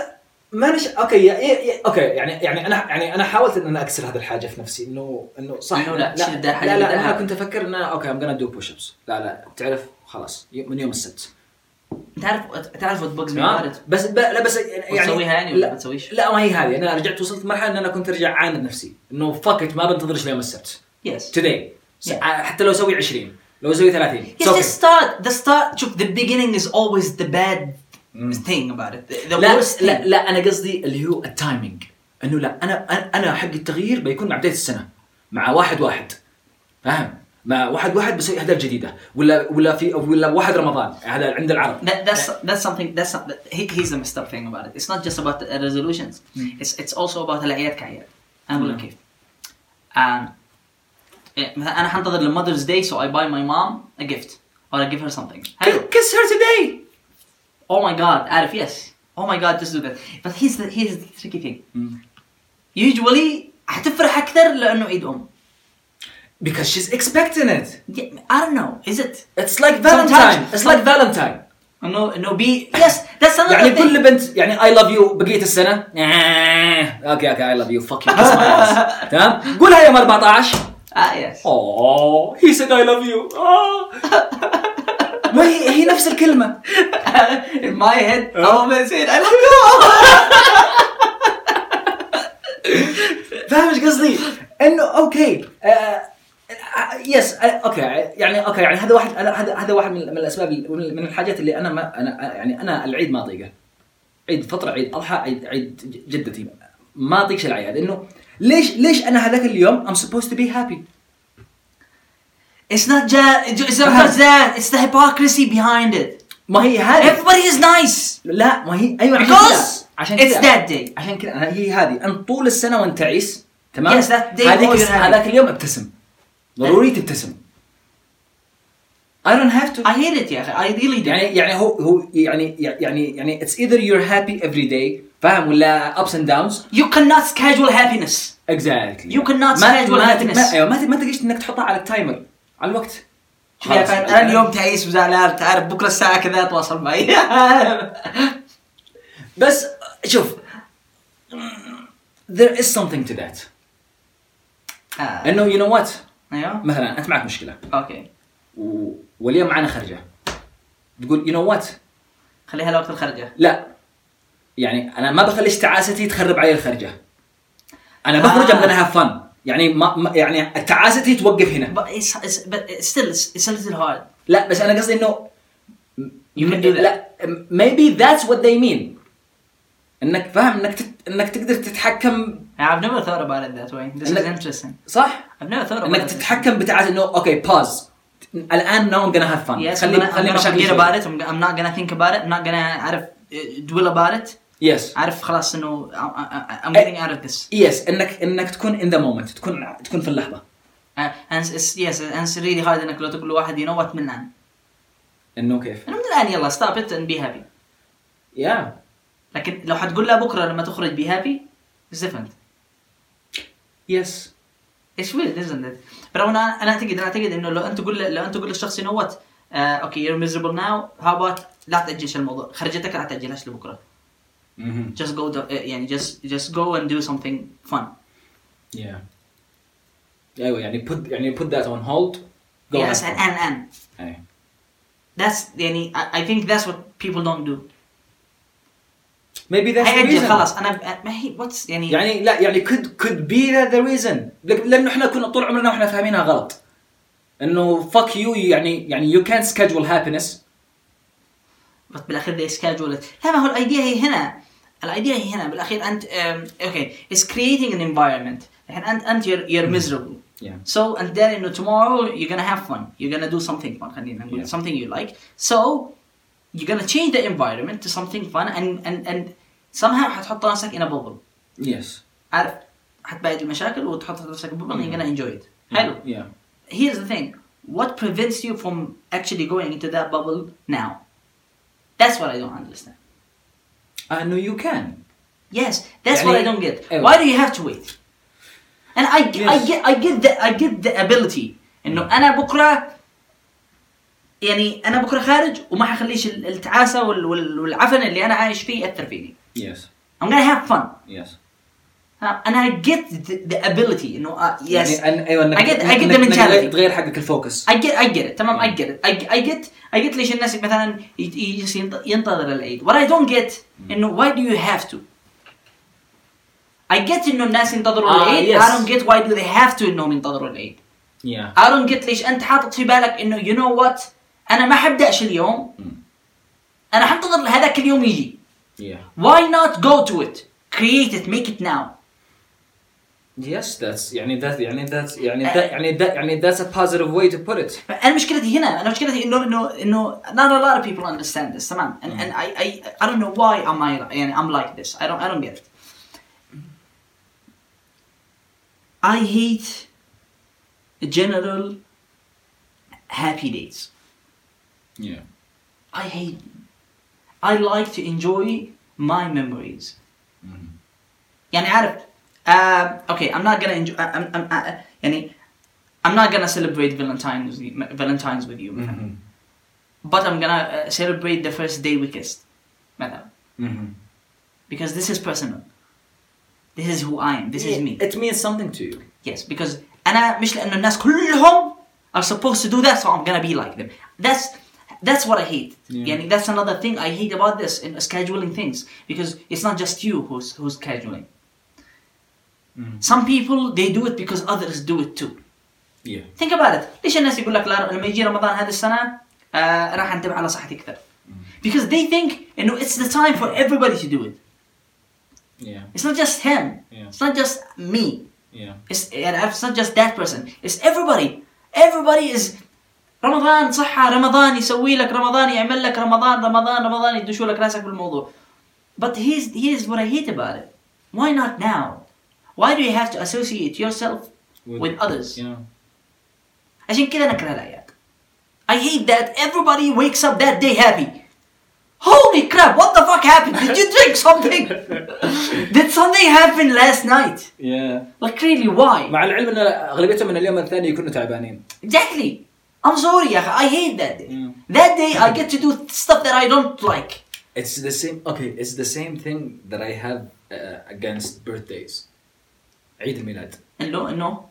مانش اوكي يا يا- يا- اوكي يعني يعني انا يعني انا حاولت ان انا اكسر هذه الحاجه في نفسي انه انه صح
إنه لا، شيل
لا
ده
لا,
حاجة
لا,
بدها.
انا كنت افكر ان انا اوكي ام جونا دو بوش ابس لا لا تعرف خلاص ي- من يوم السبت
تعرف تعرف وات بوكس مي
تمام
about it.
بس ب- لا بس يعني
وتسويها يعني ولا
لا
ما تسويش؟
لا ما هي هذه انا رجعت وصلت مرحله ان انا كنت ارجع اعاند نفسي انه فكت ما بنتظرش ليوم السبت
Yes.
توداي
Yeah.
حتى لو اسوي 20 لو اسوي 30 it's
Yes,
okay.
the start, the start, شوف, the beginning is always the bad thing about it. The, the
لا
worst
لا
thing.
لا انا قصدي اللي هو التايمينج انه لا انا أنا- انا حق التغيير بيكون مع بدايه السنه مع واحد واحد فاهم مع واحد واحد بسوي اهداف جديده ولا ولا في ولا واحد رمضان هذا عند العرب
That, that's that's something that's some- that, he, he's the messed up thing about it. It's not just about the uh, resolutions. It's it's also about الأعياد كأعياد. أنا أقول لك
Mm.
كيف. Um, إيه، مثلا أنا حنتظر للمدرز داي so I buy my mom a gift or I give her something. حلو.
كس هير توداي
Oh my god, عارف yes. Oh my god, just do that. But here's the here's the tricky thing. Usually حتفرح أكثر لأنه عيد أم.
because she's expecting it
Yeah, I don't know. Is it?
it's like
Sometimes-
valentine it's like valentine
No, no. Be yes. That's another
يعني
thing.
كل بنت يعني اي لاف يو بقيه السنه آه، اوكي اوكي اي لاف يو فك يو تمام قولها يوم 14
<laughs> Ah yes. <laughs>
اوه هي سيد اي لاف يو <laughs> ما هي هي نفس الكلمه
In my head, oh man, said I love
فاهم ايش قصدي؟ انه اوكي آه، آه، يس آه، اوكي يعني اوكي يعني هذا واحد أنا- هذا هذا واحد من من الاسباب اللي- من من الحاجات اللي انا ما انا يعني انا العيد ما اطيقه عيد فطر عيد اضحى عيد عيد جدتي ما اطيقش العياد انه ليش ليش انا هذاك اليوم ام سبوست تو بي هابي
you. It's not just it's not just that. It's the hypocrisy behind it.
ما هي هذه
Everybody is nice
لا ما هي ايوه عشان كذا
because
عشان
it's
كذا
that day.
عشان كذا أنا- هي هذه انت طول السنه وانت تعيس تمام
Yes, that day
هذيك
always
الس-
happy.
هذاك اليوم ابتسم ضروري تبتسم I don't have to
I hate it, yeah. I really do.
يعني يعني هو هو يعني يعني يعني it's either you're happy every day فاهم ولا ups and downs
You cannot schedule happiness.
exactly
You cannot
ما
schedule
ما
happiness.
ما أيوة، ما ما تقدر انك تحطها على التايمر على الوقت
شوف يا فهد، انا اليوم تعيس وزعلان تعرف بكره الساعه كذا اتواصل معي <laughs> آه،
بس شوف there is something to that
آه،
انه you know what
ايوه
مثلا انت معك مشكله
اوكي
و... واليوم معنا خرجه تقول يو نو وات
خليها لوقت الخرجه
لا يعني انا ما بخليش تعاستي تخرب علي الخرجه انا بخرج
آه.
ام هاف فن يعني ما ما- يعني تعاستي توقف هنا
but it's, it's but it's still it's, it's a little hard
لا بس انا قصدي انه
You can do that.
لا maybe that's what they mean انك فاهم انك تت... انك تقدر تتحكم
I've never thought about it that way. This is
Like-
interesting.
صح
I've never thought about
انك
it.
تتحكم بتعاس انه اوكي باز الان نو ام جونا هاف فن
Yes, I'm gonna, I'm gonna
مشاكلي
forget
شوي.
about it. I'm, I'm not gonna think about it. I'm not gonna عارف uh, dwell about it.
Yes.
عارف خلاص انه I- I- I'm getting out of this.
يس انك انك تكون ان ذا مومنت تكون تكون في اللحظه
Uh, and it's, yes, and it's really hard انك لو تقول لواحد you know what من الان.
انه كيف؟
انه من الان يلا stop it and be happy.
يا
لكن لو حتقول له بكره لما تخرج be happy it's different.
يس
It's weird isn't it? But انا انا اعتقد انا اعتقد انه لو انت تقول لو انت تقول للشخص you know what آه اوكي you're miserable now how about لا تاجلش الموضوع خرجتك لا تاجلهاش لبكره
مهم.
just go do, يعني just just go and do something fun
Yeah. ايوه يعني put يعني put that on hold. Go
yes
have
and
fun.
and and
أي.
that's يعني I, I think that's what people don't do
Maybe that's the
هيأجل
reason.
خلاص انا ما هي what's يعني
يعني لا يعني could could be that the reason لك- لانه احنا كنا طول عمرنا واحنا فاهمينها غلط. انه fuck you يعني يعني you can't schedule happiness.
بس بالاخير they schedule it لا ما هو الايديا هي هنا الايديا هي هنا بالاخير انت اوكي it's creating an environment الحين انت انت you're, you're miserable
Mm. Yeah.
So and then you know tomorrow you're gonna have fun. You're gonna do something fun, خلينا نقول
Yeah.
something you like. So you're gonna change the environment to something fun and and and somehow حتحط نفسك in a bubble.
Yes.
عارف حتبعد المشاكل وتحط نفسك in a bubble and you're gonna enjoy it. حلو.
Mm. Yeah.
Here's the thing. What prevents you from actually going into that bubble now? That's what I don't understand.
انه you can.
Yes, that's
يعني-
what I don't get.
أيوة.
Why do you have to wait? And I, I
Yes.
get I get the I get the ability انه انا بكره يعني انا بكره خارج وما حخليش ال- التعاسه وال- وال- والعفن اللي انا عايش فيه ياثر فيني.
Yes.
I'm gonna have fun.
Yes.
ها؟ Uh, and I get the, the ability انه آه, yes
يعني أن- ايوه انك
I get- I get
إنك-
the
إنك
mentality.
تغير حقك الفوكس.
I get I get it تمام I
Mm.
get it I, I get I get ليش الناس مثلا يت- يجلس ينت- ينتظر العيد what I don't get انه why do you have to I get انه الناس ينتظروا
Ah,
العيد
yes.
I don't get why do they have to انهم ينتظروا العيد
Yeah.
I don't get ليش انت حاطط في بالك انه you know what انا ما حبداش اليوم انا حنتظر لهذاك اليوم يجي
Yeah.
why not go to it create it make it now
Yes, that's يعني that يعني that's يعني
Uh,
that يعني that يعني that's a positive way to put it.
انا مشكلتي هنا انا مشكلتي انه انه انه not a lot of people understand this تمام and, and I, I I don't know why am I يعني I'm like this I don't I don't get it I hate general happy days
Yeah.
I hate them. I like to enjoy my memories يعني عارف um, okay I'm not gonna enjoy uh, I'm, I'm, I, يعني I'm not gonna celebrate Valentine's Valentine's with you مثلا but I'm gonna uh, celebrate the first day we kissed مثلا
Mm-hmm.
because this is personal this is who I am this is me
It means something to you.
yes because أنا مش لأنه الناس كلهم are supposed to do that so I'm gonna be like them that's that's what I hate
Yeah.
يعني that's another thing I hate about this in scheduling things because it's not just you who's who's scheduling
Mm.
some people they do it because others do it too
Yeah.
think about it ليش الناس يقول لك لا لما يجي رمضان هذه السنه آه راح انتبه على صحتي اكثر
Mm.
because they think انه it's the time for everybody to do it
Yeah.
it's not just him
Yeah.
it's not just me
Yeah.
it's يعني عارف it's not just that person it's everybody everybody is رمضان صحة رمضان يسوي لك رمضان يعمل لك رمضان رمضان رمضان يدشوا لك راسك بالموضوع but here's here's what I hate about it why not now why do you have to associate yourself with, others
Yeah.
عشان كذا نكره الأعياد. I hate that everybody wakes up that day happy. Holy crap, what the fuck happened? Did you drink something? Did something happen last night?
Yeah.
Like really, why?
مع العلم ان اغلبيتهم من اليوم الثاني يكونوا تعبانين.
Exactly. I'm sorry, يا أخي. I hate that day.
Mm.
That day I get to do stuff that I don't like.
It's the same okay, it's the same thing that I have uh, against birthdays. عيد الميلاد.
No, no.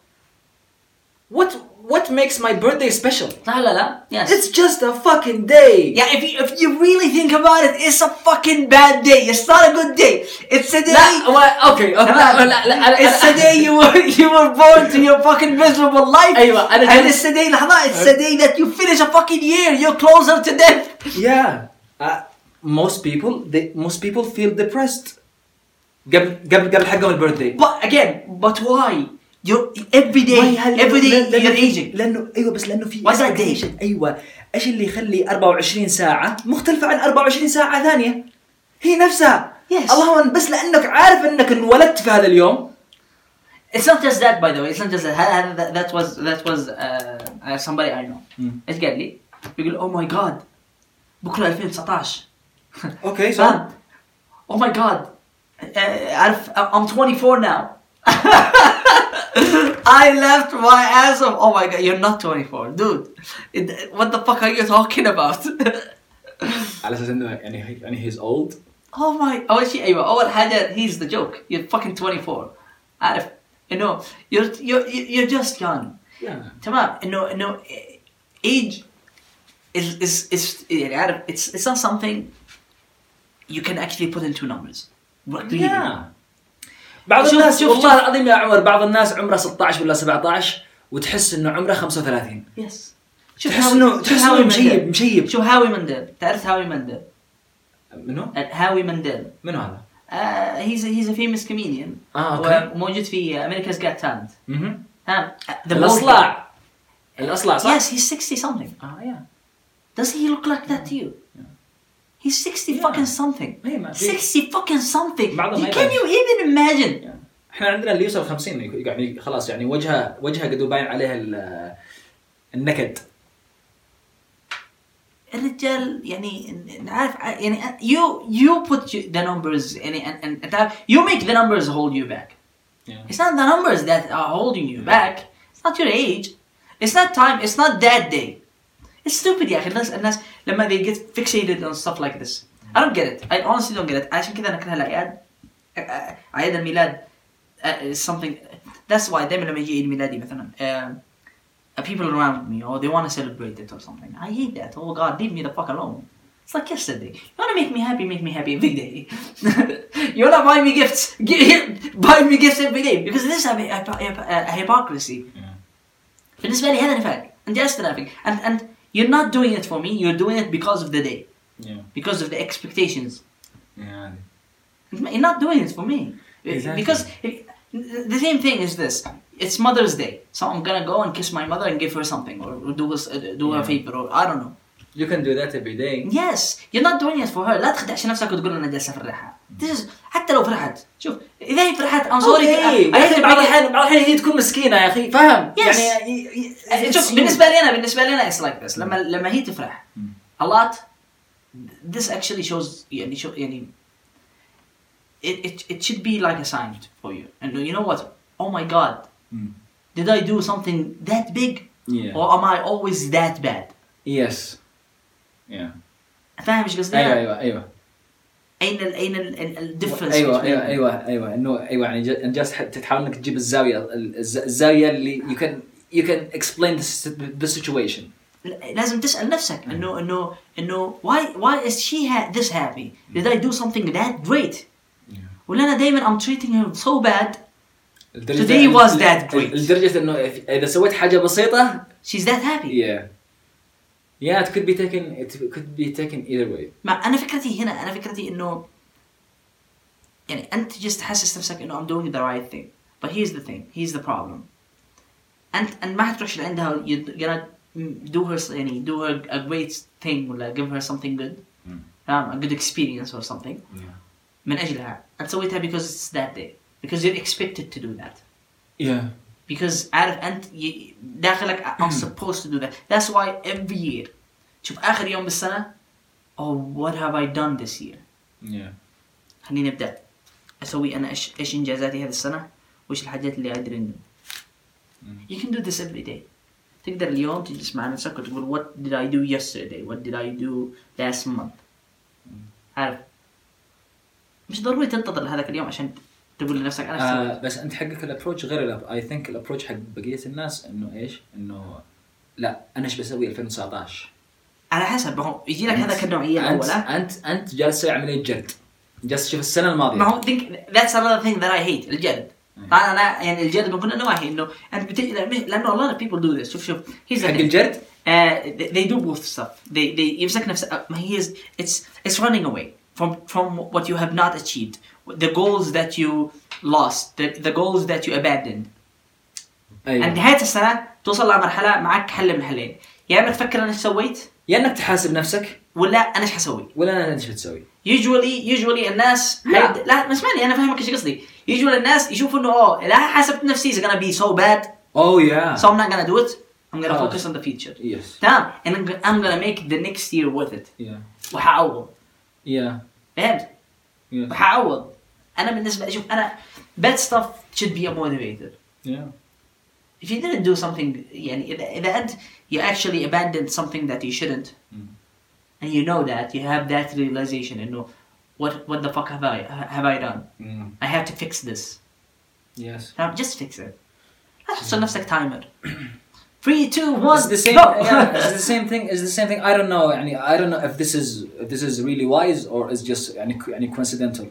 What what makes my birthday special?
لا لا لا. Yes.
It's just a fucking day.
yeah, if you, if you really think about it, it's a fucking bad day. It's not a good day. It's a day.
لا و- اوكي اوكي لا لا لا أنا-
It's the
أنا-
day you were you were born to your fucking miserable life.
أيوة، أنا
and
جالس-
it's the day لحظة it's the day that you finish a fucking year you're closer to death.
Yeah. Uh, most people they most people feel depressed. قبل قبل قبل حقهم البيرثداي.
But again, but why? You're every day every day you're aging.
لانه ايوه بس لانه في
What's that day?
expectation. ايوه ايش اللي يخلي 24 ساعه مختلفه عن 24 ساعه ثانيه؟ هي نفسها
Yes.
اللهم بس لانك عارف انك انولدت في هذا اليوم
It's not just that by the way. It's not just that. هذا- هذا- That, was that was uh, uh, somebody I know.
Mm.
ايش قال لي؟ بيقول oh my god بكره 2019
اوكي آه.
uh, فاهم؟ Oh my god. Uh, عارف I'm 24 now. <laughs> I left my ass off. Oh my god, you're not 24, dude. It, what the fuck are you talking about? <laughs>
على اساس انه يعني يعني هيز اولد
oh my. أول شيء أيوه أول حاجة he's the joke. You're fucking 24. عارف إنه you're you're you're just young. تمام انه انه ايج is is is يعني عارف it's it's not something you can actually put into numbers.
يا بعض
شوف-
الناس
شوف-
والله العظيم يا عمر بعض الناس عمره 16 ولا 17 وتحس انه عمره 35
يس
تحس إنه- تحس إنه مشيب- مشيب.
شوف هاوي مندل تعرف هاوي مندل
منو؟
هاوي مندل
منو هذا؟
هيز هيز ا فيمس كوميديان
آه، أوكي.
وموجود في امريكاز جات تالنت
مهم.
ها
الاصلع الاصلع صح؟
يس هيز 60 something
اه يا
does he look like that to you he's 60
Yeah.
fucking something
إيه، ما في-
60 fucking something
بعضهم ما
can
يبان.
you even imagine
احنا عندنا اللي يوصل 50 يك- يعني خلاص يعني وجهه وجهه قد باين عليه ال- النكد
الرجال يعني ن- نعرف ع- يعني أ- you you put you- the numbers يعني and, and, and تعرف- you make the numbers hold you back it's not the numbers that are holding you back it's not your age it's not time it's not that day it's stupid يا اخي الناس الناس لما they get fixated on stuff like this I don't get it I honestly don't get it عشان كذا انا اكره الاعياد أ- أ- اعياد الميلاد أ- is something that's why دائما لما يجي عيد ميلادي مثلا um, uh, people around me or they want to celebrate it or something. I hate that. Oh God, leave me the fuck alone. It's like yesterday. You want to make me happy, make me happy every day. <laughs> you want to buy me gifts, gi- <laughs> buy me gifts every day because this is a, a, a, a uh, hypocrisy. بالنسبة لي هذا نفاق. And just nothing. And and you're not doing it for me. You're doing it because of the day, because of the expectations. You're not doing it for me.
Exactly.
Because if- the same thing is this. It's Mother's Day, so I'm gonna go and kiss my mother and give her something, or or do us, uh, do her
Yeah.
favor, or I don't know.
You can do that every day
Yes, you're not doing it for her. لا تخدعش نفسك وتقول انا جالسه افرحها. This is حتى لو فرحت، شوف اذا هي فرحت I'm sorry. I- I
يا
have
اخي
to
بعض
bring it-
الاحيان بعض الاحيان هي تكون مسكينه يا اخي فاهم
Yes.
يعني ي- ي-
أه،
it's
شوف
you.
بالنسبه لي انا بالنسبه لي انا it's like this لما لما هي تفرح a lot this actually shows يعني شو يعني it, it, it should be like a sign for you and you know what oh my god did I do something that big
Yeah.
or am I always that bad
Yes. Yeah.
فاهم ايش قصدي؟
ايوه ايوه ايوه
اين ال اين ال ال- ال difference
ايوه
between-
ايوه ايوه ايوه انه ايوه يعني ج- جالس تح- تحاول انك تجيب الزاويه ال- الز- الزاويه اللي you can you can explain the sit- the situation
لازم تسال نفسك
أيوة.
انه انه انه why why is she ha this happy did I do something that great ولا انا دائما I'm treating her so bad Today was that great.
لدرجه انه if- اذا سويت حاجه بسيطه
she's that happy
yeah yeah it could be taken it could be taken either way
ما انا فكرتي هنا انا فكرتي انه يعني انت جست حاسس نفسك انه I'm doing the right thing but here's the thing here's the problem انت انت ما حتروح لعندها you're gonna do her يعني do her a great thing ولا give her something good فاهم a good experience or something من اجلها انت سويتها because it's that day because you're expected to do that
yeah
because عارف انت ي- داخلك I'm supposed to do that that's why every year شوف اخر يوم بالسنه oh what have I done this year
yeah
خليني ابدا اسوي انا ايش ايش انجازاتي هذه السنه وايش الحاجات اللي اقدر اني you can do this every day تقدر اليوم تجلس مع نفسك وتقول what did I do yesterday what did I do last month عارف مش ضروري تنتظر لهذاك اليوم عشان تقول لنفسك انا إيش سويت.
آه بس انت حقك الابروتش غير الاب اي ثينك الابروتش حق بقيه الناس انه ايش؟ انه لا انا ايش بسوي 2019
على حسب ما هو يجي لك هذا
أنت-
كالنوعيه
انت
الاولى
انت انت جالس تسوي عمليه جلد جالس تشوف السنه الماضيه
ما هو think that's another thing that I hate الجلد طبعا انا يعني الجلد من كل النواحي انه انت بت... لانه a lot of people do this شوف شوف here's the
حق
thing.
الجلد؟
Uh, they- they do both stuff they they يمسك نفسه uh, ما he is it's it's running away from from what you have not achieved the goals that you lost the, the goals that you abandoned
ايوه
عند نهايه السنه توصل لمرحله معك حل من حلين يا اما تفكر انا ايش سويت
يا انك تحاسب نفسك
ولا انا ايش حسوي
ولا انا ايش بتسوي
يوجولي يوجولي الناس
لا.
لا, لا اسمعني انا فاهمك ايش قصدي يوجولي الناس يشوفوا انه اوه لا حسبت نفسي is gonna be so bad
اوه يا
so I'm not gonna do it I'm gonna
خلاص.
focus on the future
يس
تمام and I'm- I'm gonna make the next year worth it
يا
وحعوض
يا
فهمت
يا
وحعوض انا بالنسبه شوف انا bad stuff should be a motivator
Yeah.
if you didn't do something يعني اذا اذا انت you actually abandoned something that you shouldn't
Mm.
and you know that you have that realization انه what what the fuck have I have I done
Mm.
I have to fix this
Yes.
Now just fix it Ah, لا تحصل نفسك
<clears throat>
تايمر 3 2 1
Mm. It's the same.
go.
<laughs> yeah, it's the same thing. It's the same thing. I don't know. يعني I don't know if this is if this is really wise or is just يعني يعني coincidental.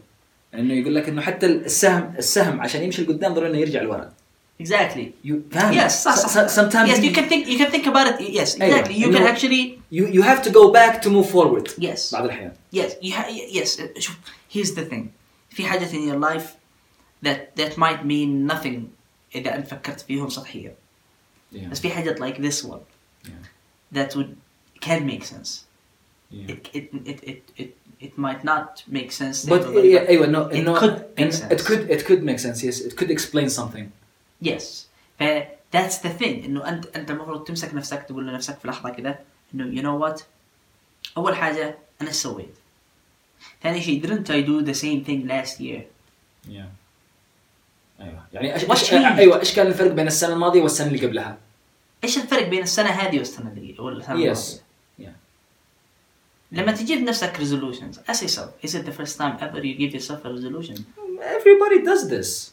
انه يقول لك انه حتى السهم السهم عشان يمشي لقدام ضروري انه يرجع لورا.
<laughs> exactly
You فاهم؟
yes صح
So- so-
صح
Sometimes
yes you can think you can think about it yes
أيوة.
exactly you
إنه-
can actually
you you have to go back to move forward.
Yes.
بعض الأحيان.
Yes, you ha- yes. uh, شوف, here's the thing. في حاجات in your life that that might mean nothing إذا أنت فكرت فيهم سطحيا.
Yeah.
بس في حاجات like this one that would can make sense.
Yeah.
It, it, it, it, it, it might not make sense. to
But
everybody,
yeah, أيوة no
it
no
could make
and
sense.
it could it could make sense yes it could explain something.
Yes. ف that's the thing انه انت انت المفروض تمسك نفسك تقول لنفسك في لحظه كذا انه you know what اول حاجه انا ايش سويت؟ ثاني شيء didn't I do the same thing last year؟
Yeah. أيوة يعني إيش
What
إيش-
changed?
أيوة إيش كان الفرق بين السنة الماضية والسنة اللي قبلها؟
ايش الفرق بين السنه هذه والسنه اللي والسنه
Yes.
الماضية؟ لما تجيب نفسك resolutions ask yourself is it the first time ever you give yourself a resolution
everybody does this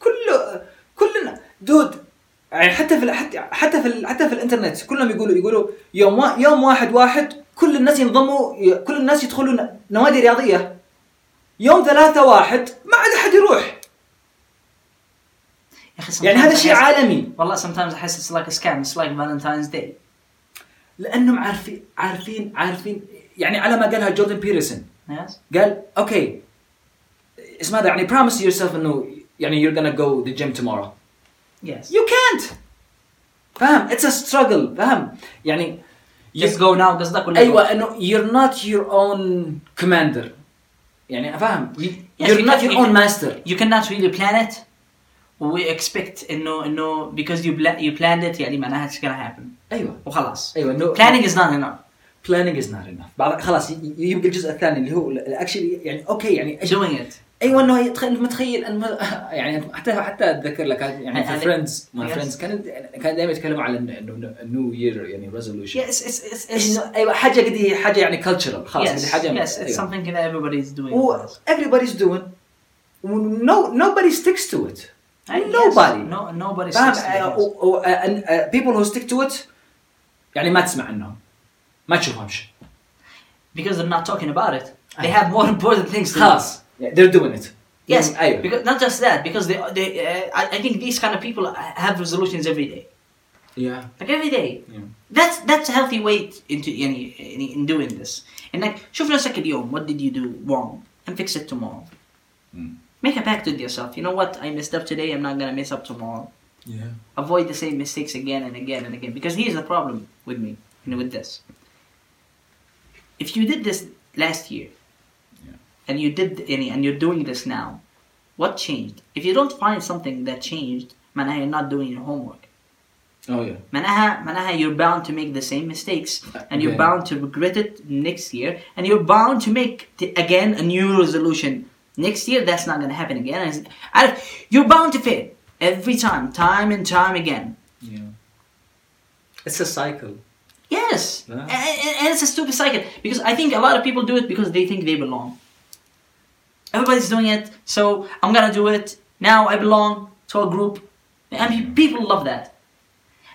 كله كلنا دود يعني حتى في ال- حتى حتى في ال- حتى في الانترنت كلهم يقولوا يقولوا يوم وا- يوم واحد واحد كل الناس ينضموا ي- كل الناس يدخلوا ن- نوادي رياضيه يوم ثلاثة واحد ما عاد احد يروح
يا اخي
يعني
sometimes
هذا شيء
أحس-
عالمي
والله sometimes I it's like a scam it's like Valentine's Day
لانهم عارفين عارفين عارفين يعني على ما قالها جوردن بيرسون
yes
قال اوكي اسم هذا يعني promise yourself انه يعني you're gonna go the gym tomorrow
yes
You can't. فاهم؟ It's a struggle. فاهم؟ يعني
just go now قصدك ولا
ايوه انه you're not your own commander. يعني فاهم؟ You-
Yes,
you're
you
not
can-
your
you
own
can-
master.
you cannot really plan it we expect انه انه because you pla- you planned it يعني معناها it's gonna happen
ايوه
وخلاص
ايوه انه
planning is not enough
planning is not enough. بعض خلاص ي- ي- يبقى الجزء الثاني اللي هو الاكشن يعني اوكي يعني إيش-
doing it
ايوه انه تخيل متخيل أن <laughs> يعني حتى حتى اتذكر لك يعني في
أنا-
فريندز ما
Yes.
فريندز كان كان دائما يتكلموا على انه نيو يير يعني ريزولوشن
yes it's it's it's
انه ايوه حاجه قد حاجه يعني كلتشرال خلاص
yes
قد حاجه
yes it's
أيوة.
something that everybody is doing
Well, everybody's doing. No, nobody sticks to it.
I- yes,
nobody.
no nobody
فاهم؟
sticks to it,
Uh,
yes.
و- و- and, uh, people who stick to it يعني ما تسمع عنهم. ما تشوفهمش.
because they're not talking about it. They
أيوة.
have more <laughs> important things to do.
خلاص. They're doing it.
Yes,
أيوه.
because not just that, because they, they uh, I, I think these kind of people have resolutions every day,
yeah.
like every day.
Yeah.
That's that's a healthy way into in, in, in doing this. And like, شوف نفسك اليوم. What did you do wrong? And fix it tomorrow.
Mm.
Make a pact with yourself. You know what? I messed up today. I'm not gonna mess up tomorrow.
Yeah.
Avoid the same mistakes again and again and again. Because here's the problem with me and with this. If you did this last year,
Yeah.
and you did any and you're doing this now what changed if you don't find something that changed معناها you're not doing your homework
Oh yeah.
معناها معناها you're bound to make the same mistakes and you're
Again.
bound to regret it next year and you're bound to make t- again a new resolution next year that's not going to happen again And it's- I- you're bound to fail every time time and time again
Yeah. It's a cycle.
yes
Yeah.
and, and- and it's a stupid cycle because i think a lot of people do it because they think they belong everybody's doing it so i'm gonna do it now i belong to a group and pe- people love that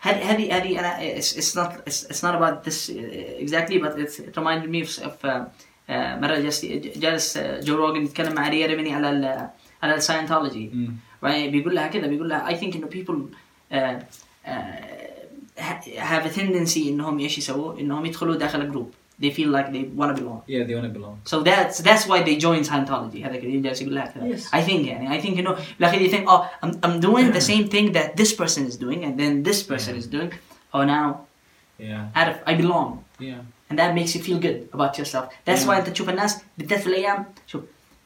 هذه هذه هذه انا it's, it's not it's, it's not about this uh, exactly but it's, it reminded me of, of uh, uh, مره جالس جالس uh, جو روجن يتكلم مع ريا ريمني على ال على الساينتولوجي right? بيقول لها كذا بيقول لها I think انه people uh, uh, have a tendency انهم ايش يسووا؟ انهم يدخلوا داخل جروب they feel like they want to belong
Yeah, they want to belong.
So that's that's why they join Scientology. هذا كذا جالس يقول لها كذا.
Yes.
I think يعني I think you know like you think oh I'm I'm doing the same thing that this person is doing and then this person is doing. Oh now
Yeah.
عارف I belong
Yeah.
and that makes you feel good about yourself. That's
Yeah.
why انت تشوف الناس بالذات في الايام شوف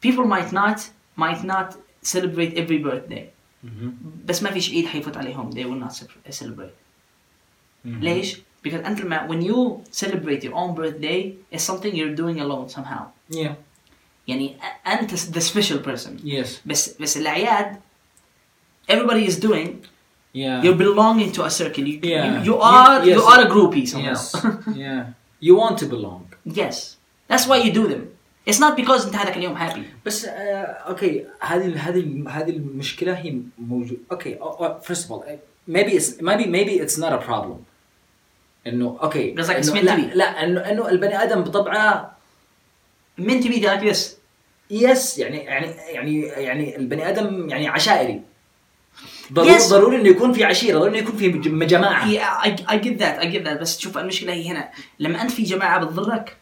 people might not might not celebrate every birthday
Mm-hmm.
بس ما فيش عيد حيفوت عليهم they will not ce- celebrate.
Mm-hmm.
ليش؟ Because until ما when you celebrate your own birthday it's something you're doing alone somehow.
Yeah.
يعني أ- انت ذا سبيشال بيرسون
يس
بس بس الاعياد everybody is doing
يا
you're belonging to a circle you,
Yeah.
you, you are
Yes.
you are a groupie somehow
<laughs> يس يا يو ونت تو بلونج
<laughs> yes that's why you do them it's not because انت هذاك اليوم happy
بس آه، اوكي هذه هذه هذه المشكله هي uh, موجوده اوكي فيرست اوف اول maybe it's maybe maybe it's not a problem انه اوكي
قصدك
إنه-
it's meant to
لا
be.
لا انه انه البني ادم بطبعه
meant to be like this
يس يعني يعني يعني يعني البني ادم يعني عشائري ضروري
Yes.
ضروري انه يكون في عشيره ضروري انه يكون في مج- جماعه
yeah, I, I get that I get that بس تشوف المشكلة هي هنا لما أنت في جماعة بتضرك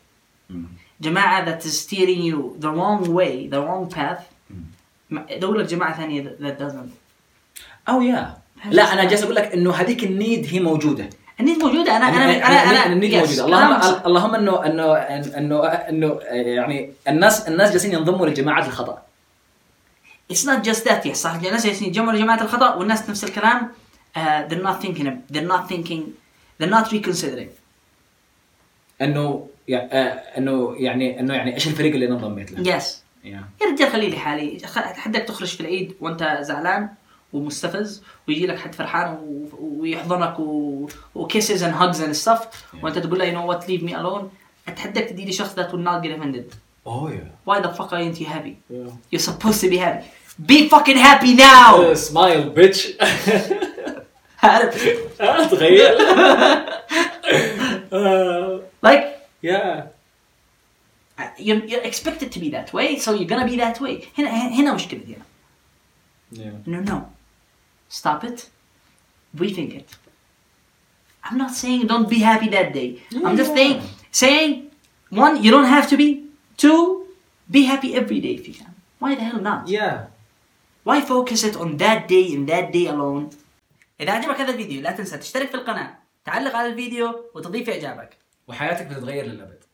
Mm.
جماعة that is steering you the wrong way the wrong path
Mm.
ما- دور لك جماعة ثانية that- that doesn't
او يا
هل
Oh, لا
بس-
انا جالس اقول لك انه هذيك النيد هي موجوده
النيد موجودة أنا أنا أنا أنا
النيد- النيد
yes.
موجوده اللهم
أنا مص-
اللهم انه انه انه انه يعني الناس الناس جالسين ينضموا لجماعات الخطا
it's not just that يا صح الناس جالسين يتجمعوا لجماعة الخطأ والناس نفس الكلام uh, they're not thinking of- they're not thinking they're not reconsidering
انه يع- آه، انه يعني انه يعني ايش الفريق اللي انا انضميت له؟
yes
Yeah.
يا رجال خلي لي حالي خ- حدك تخرج في العيد وانت زعلان ومستفز ويجي لك حد فرحان و- ويحضنك و... وكيسز اند هاجز اند ستاف وانت تقول له يو نو وات ليف مي الون اتحداك تدي لي شخص ذات ويل نوت جيت اوفندد
اوه يا
واي ذا فك ار انت هابي يو سبوست تو بي هابي بي fucking هابي ناو
سمايل بيتش
عارف
تغير
<laughs> like
يا
you're, you're expected to be that way so you're gonna be that way هنا هنا مشكلتي انا No, no. Stop it. Rethink it. I'm not saying don't be happy that day. I'm just
Yeah.
saying, saying, one, you don't have to be. Two, be happy every day if you can. Why the hell not?
يا
Why focus it on that day and that day alone? إذا عجبك هذا الفيديو لا تنسى تشترك في القناة، تعلق على الفيديو وتضيف إعجابك.
وحياتك بتتغير للابد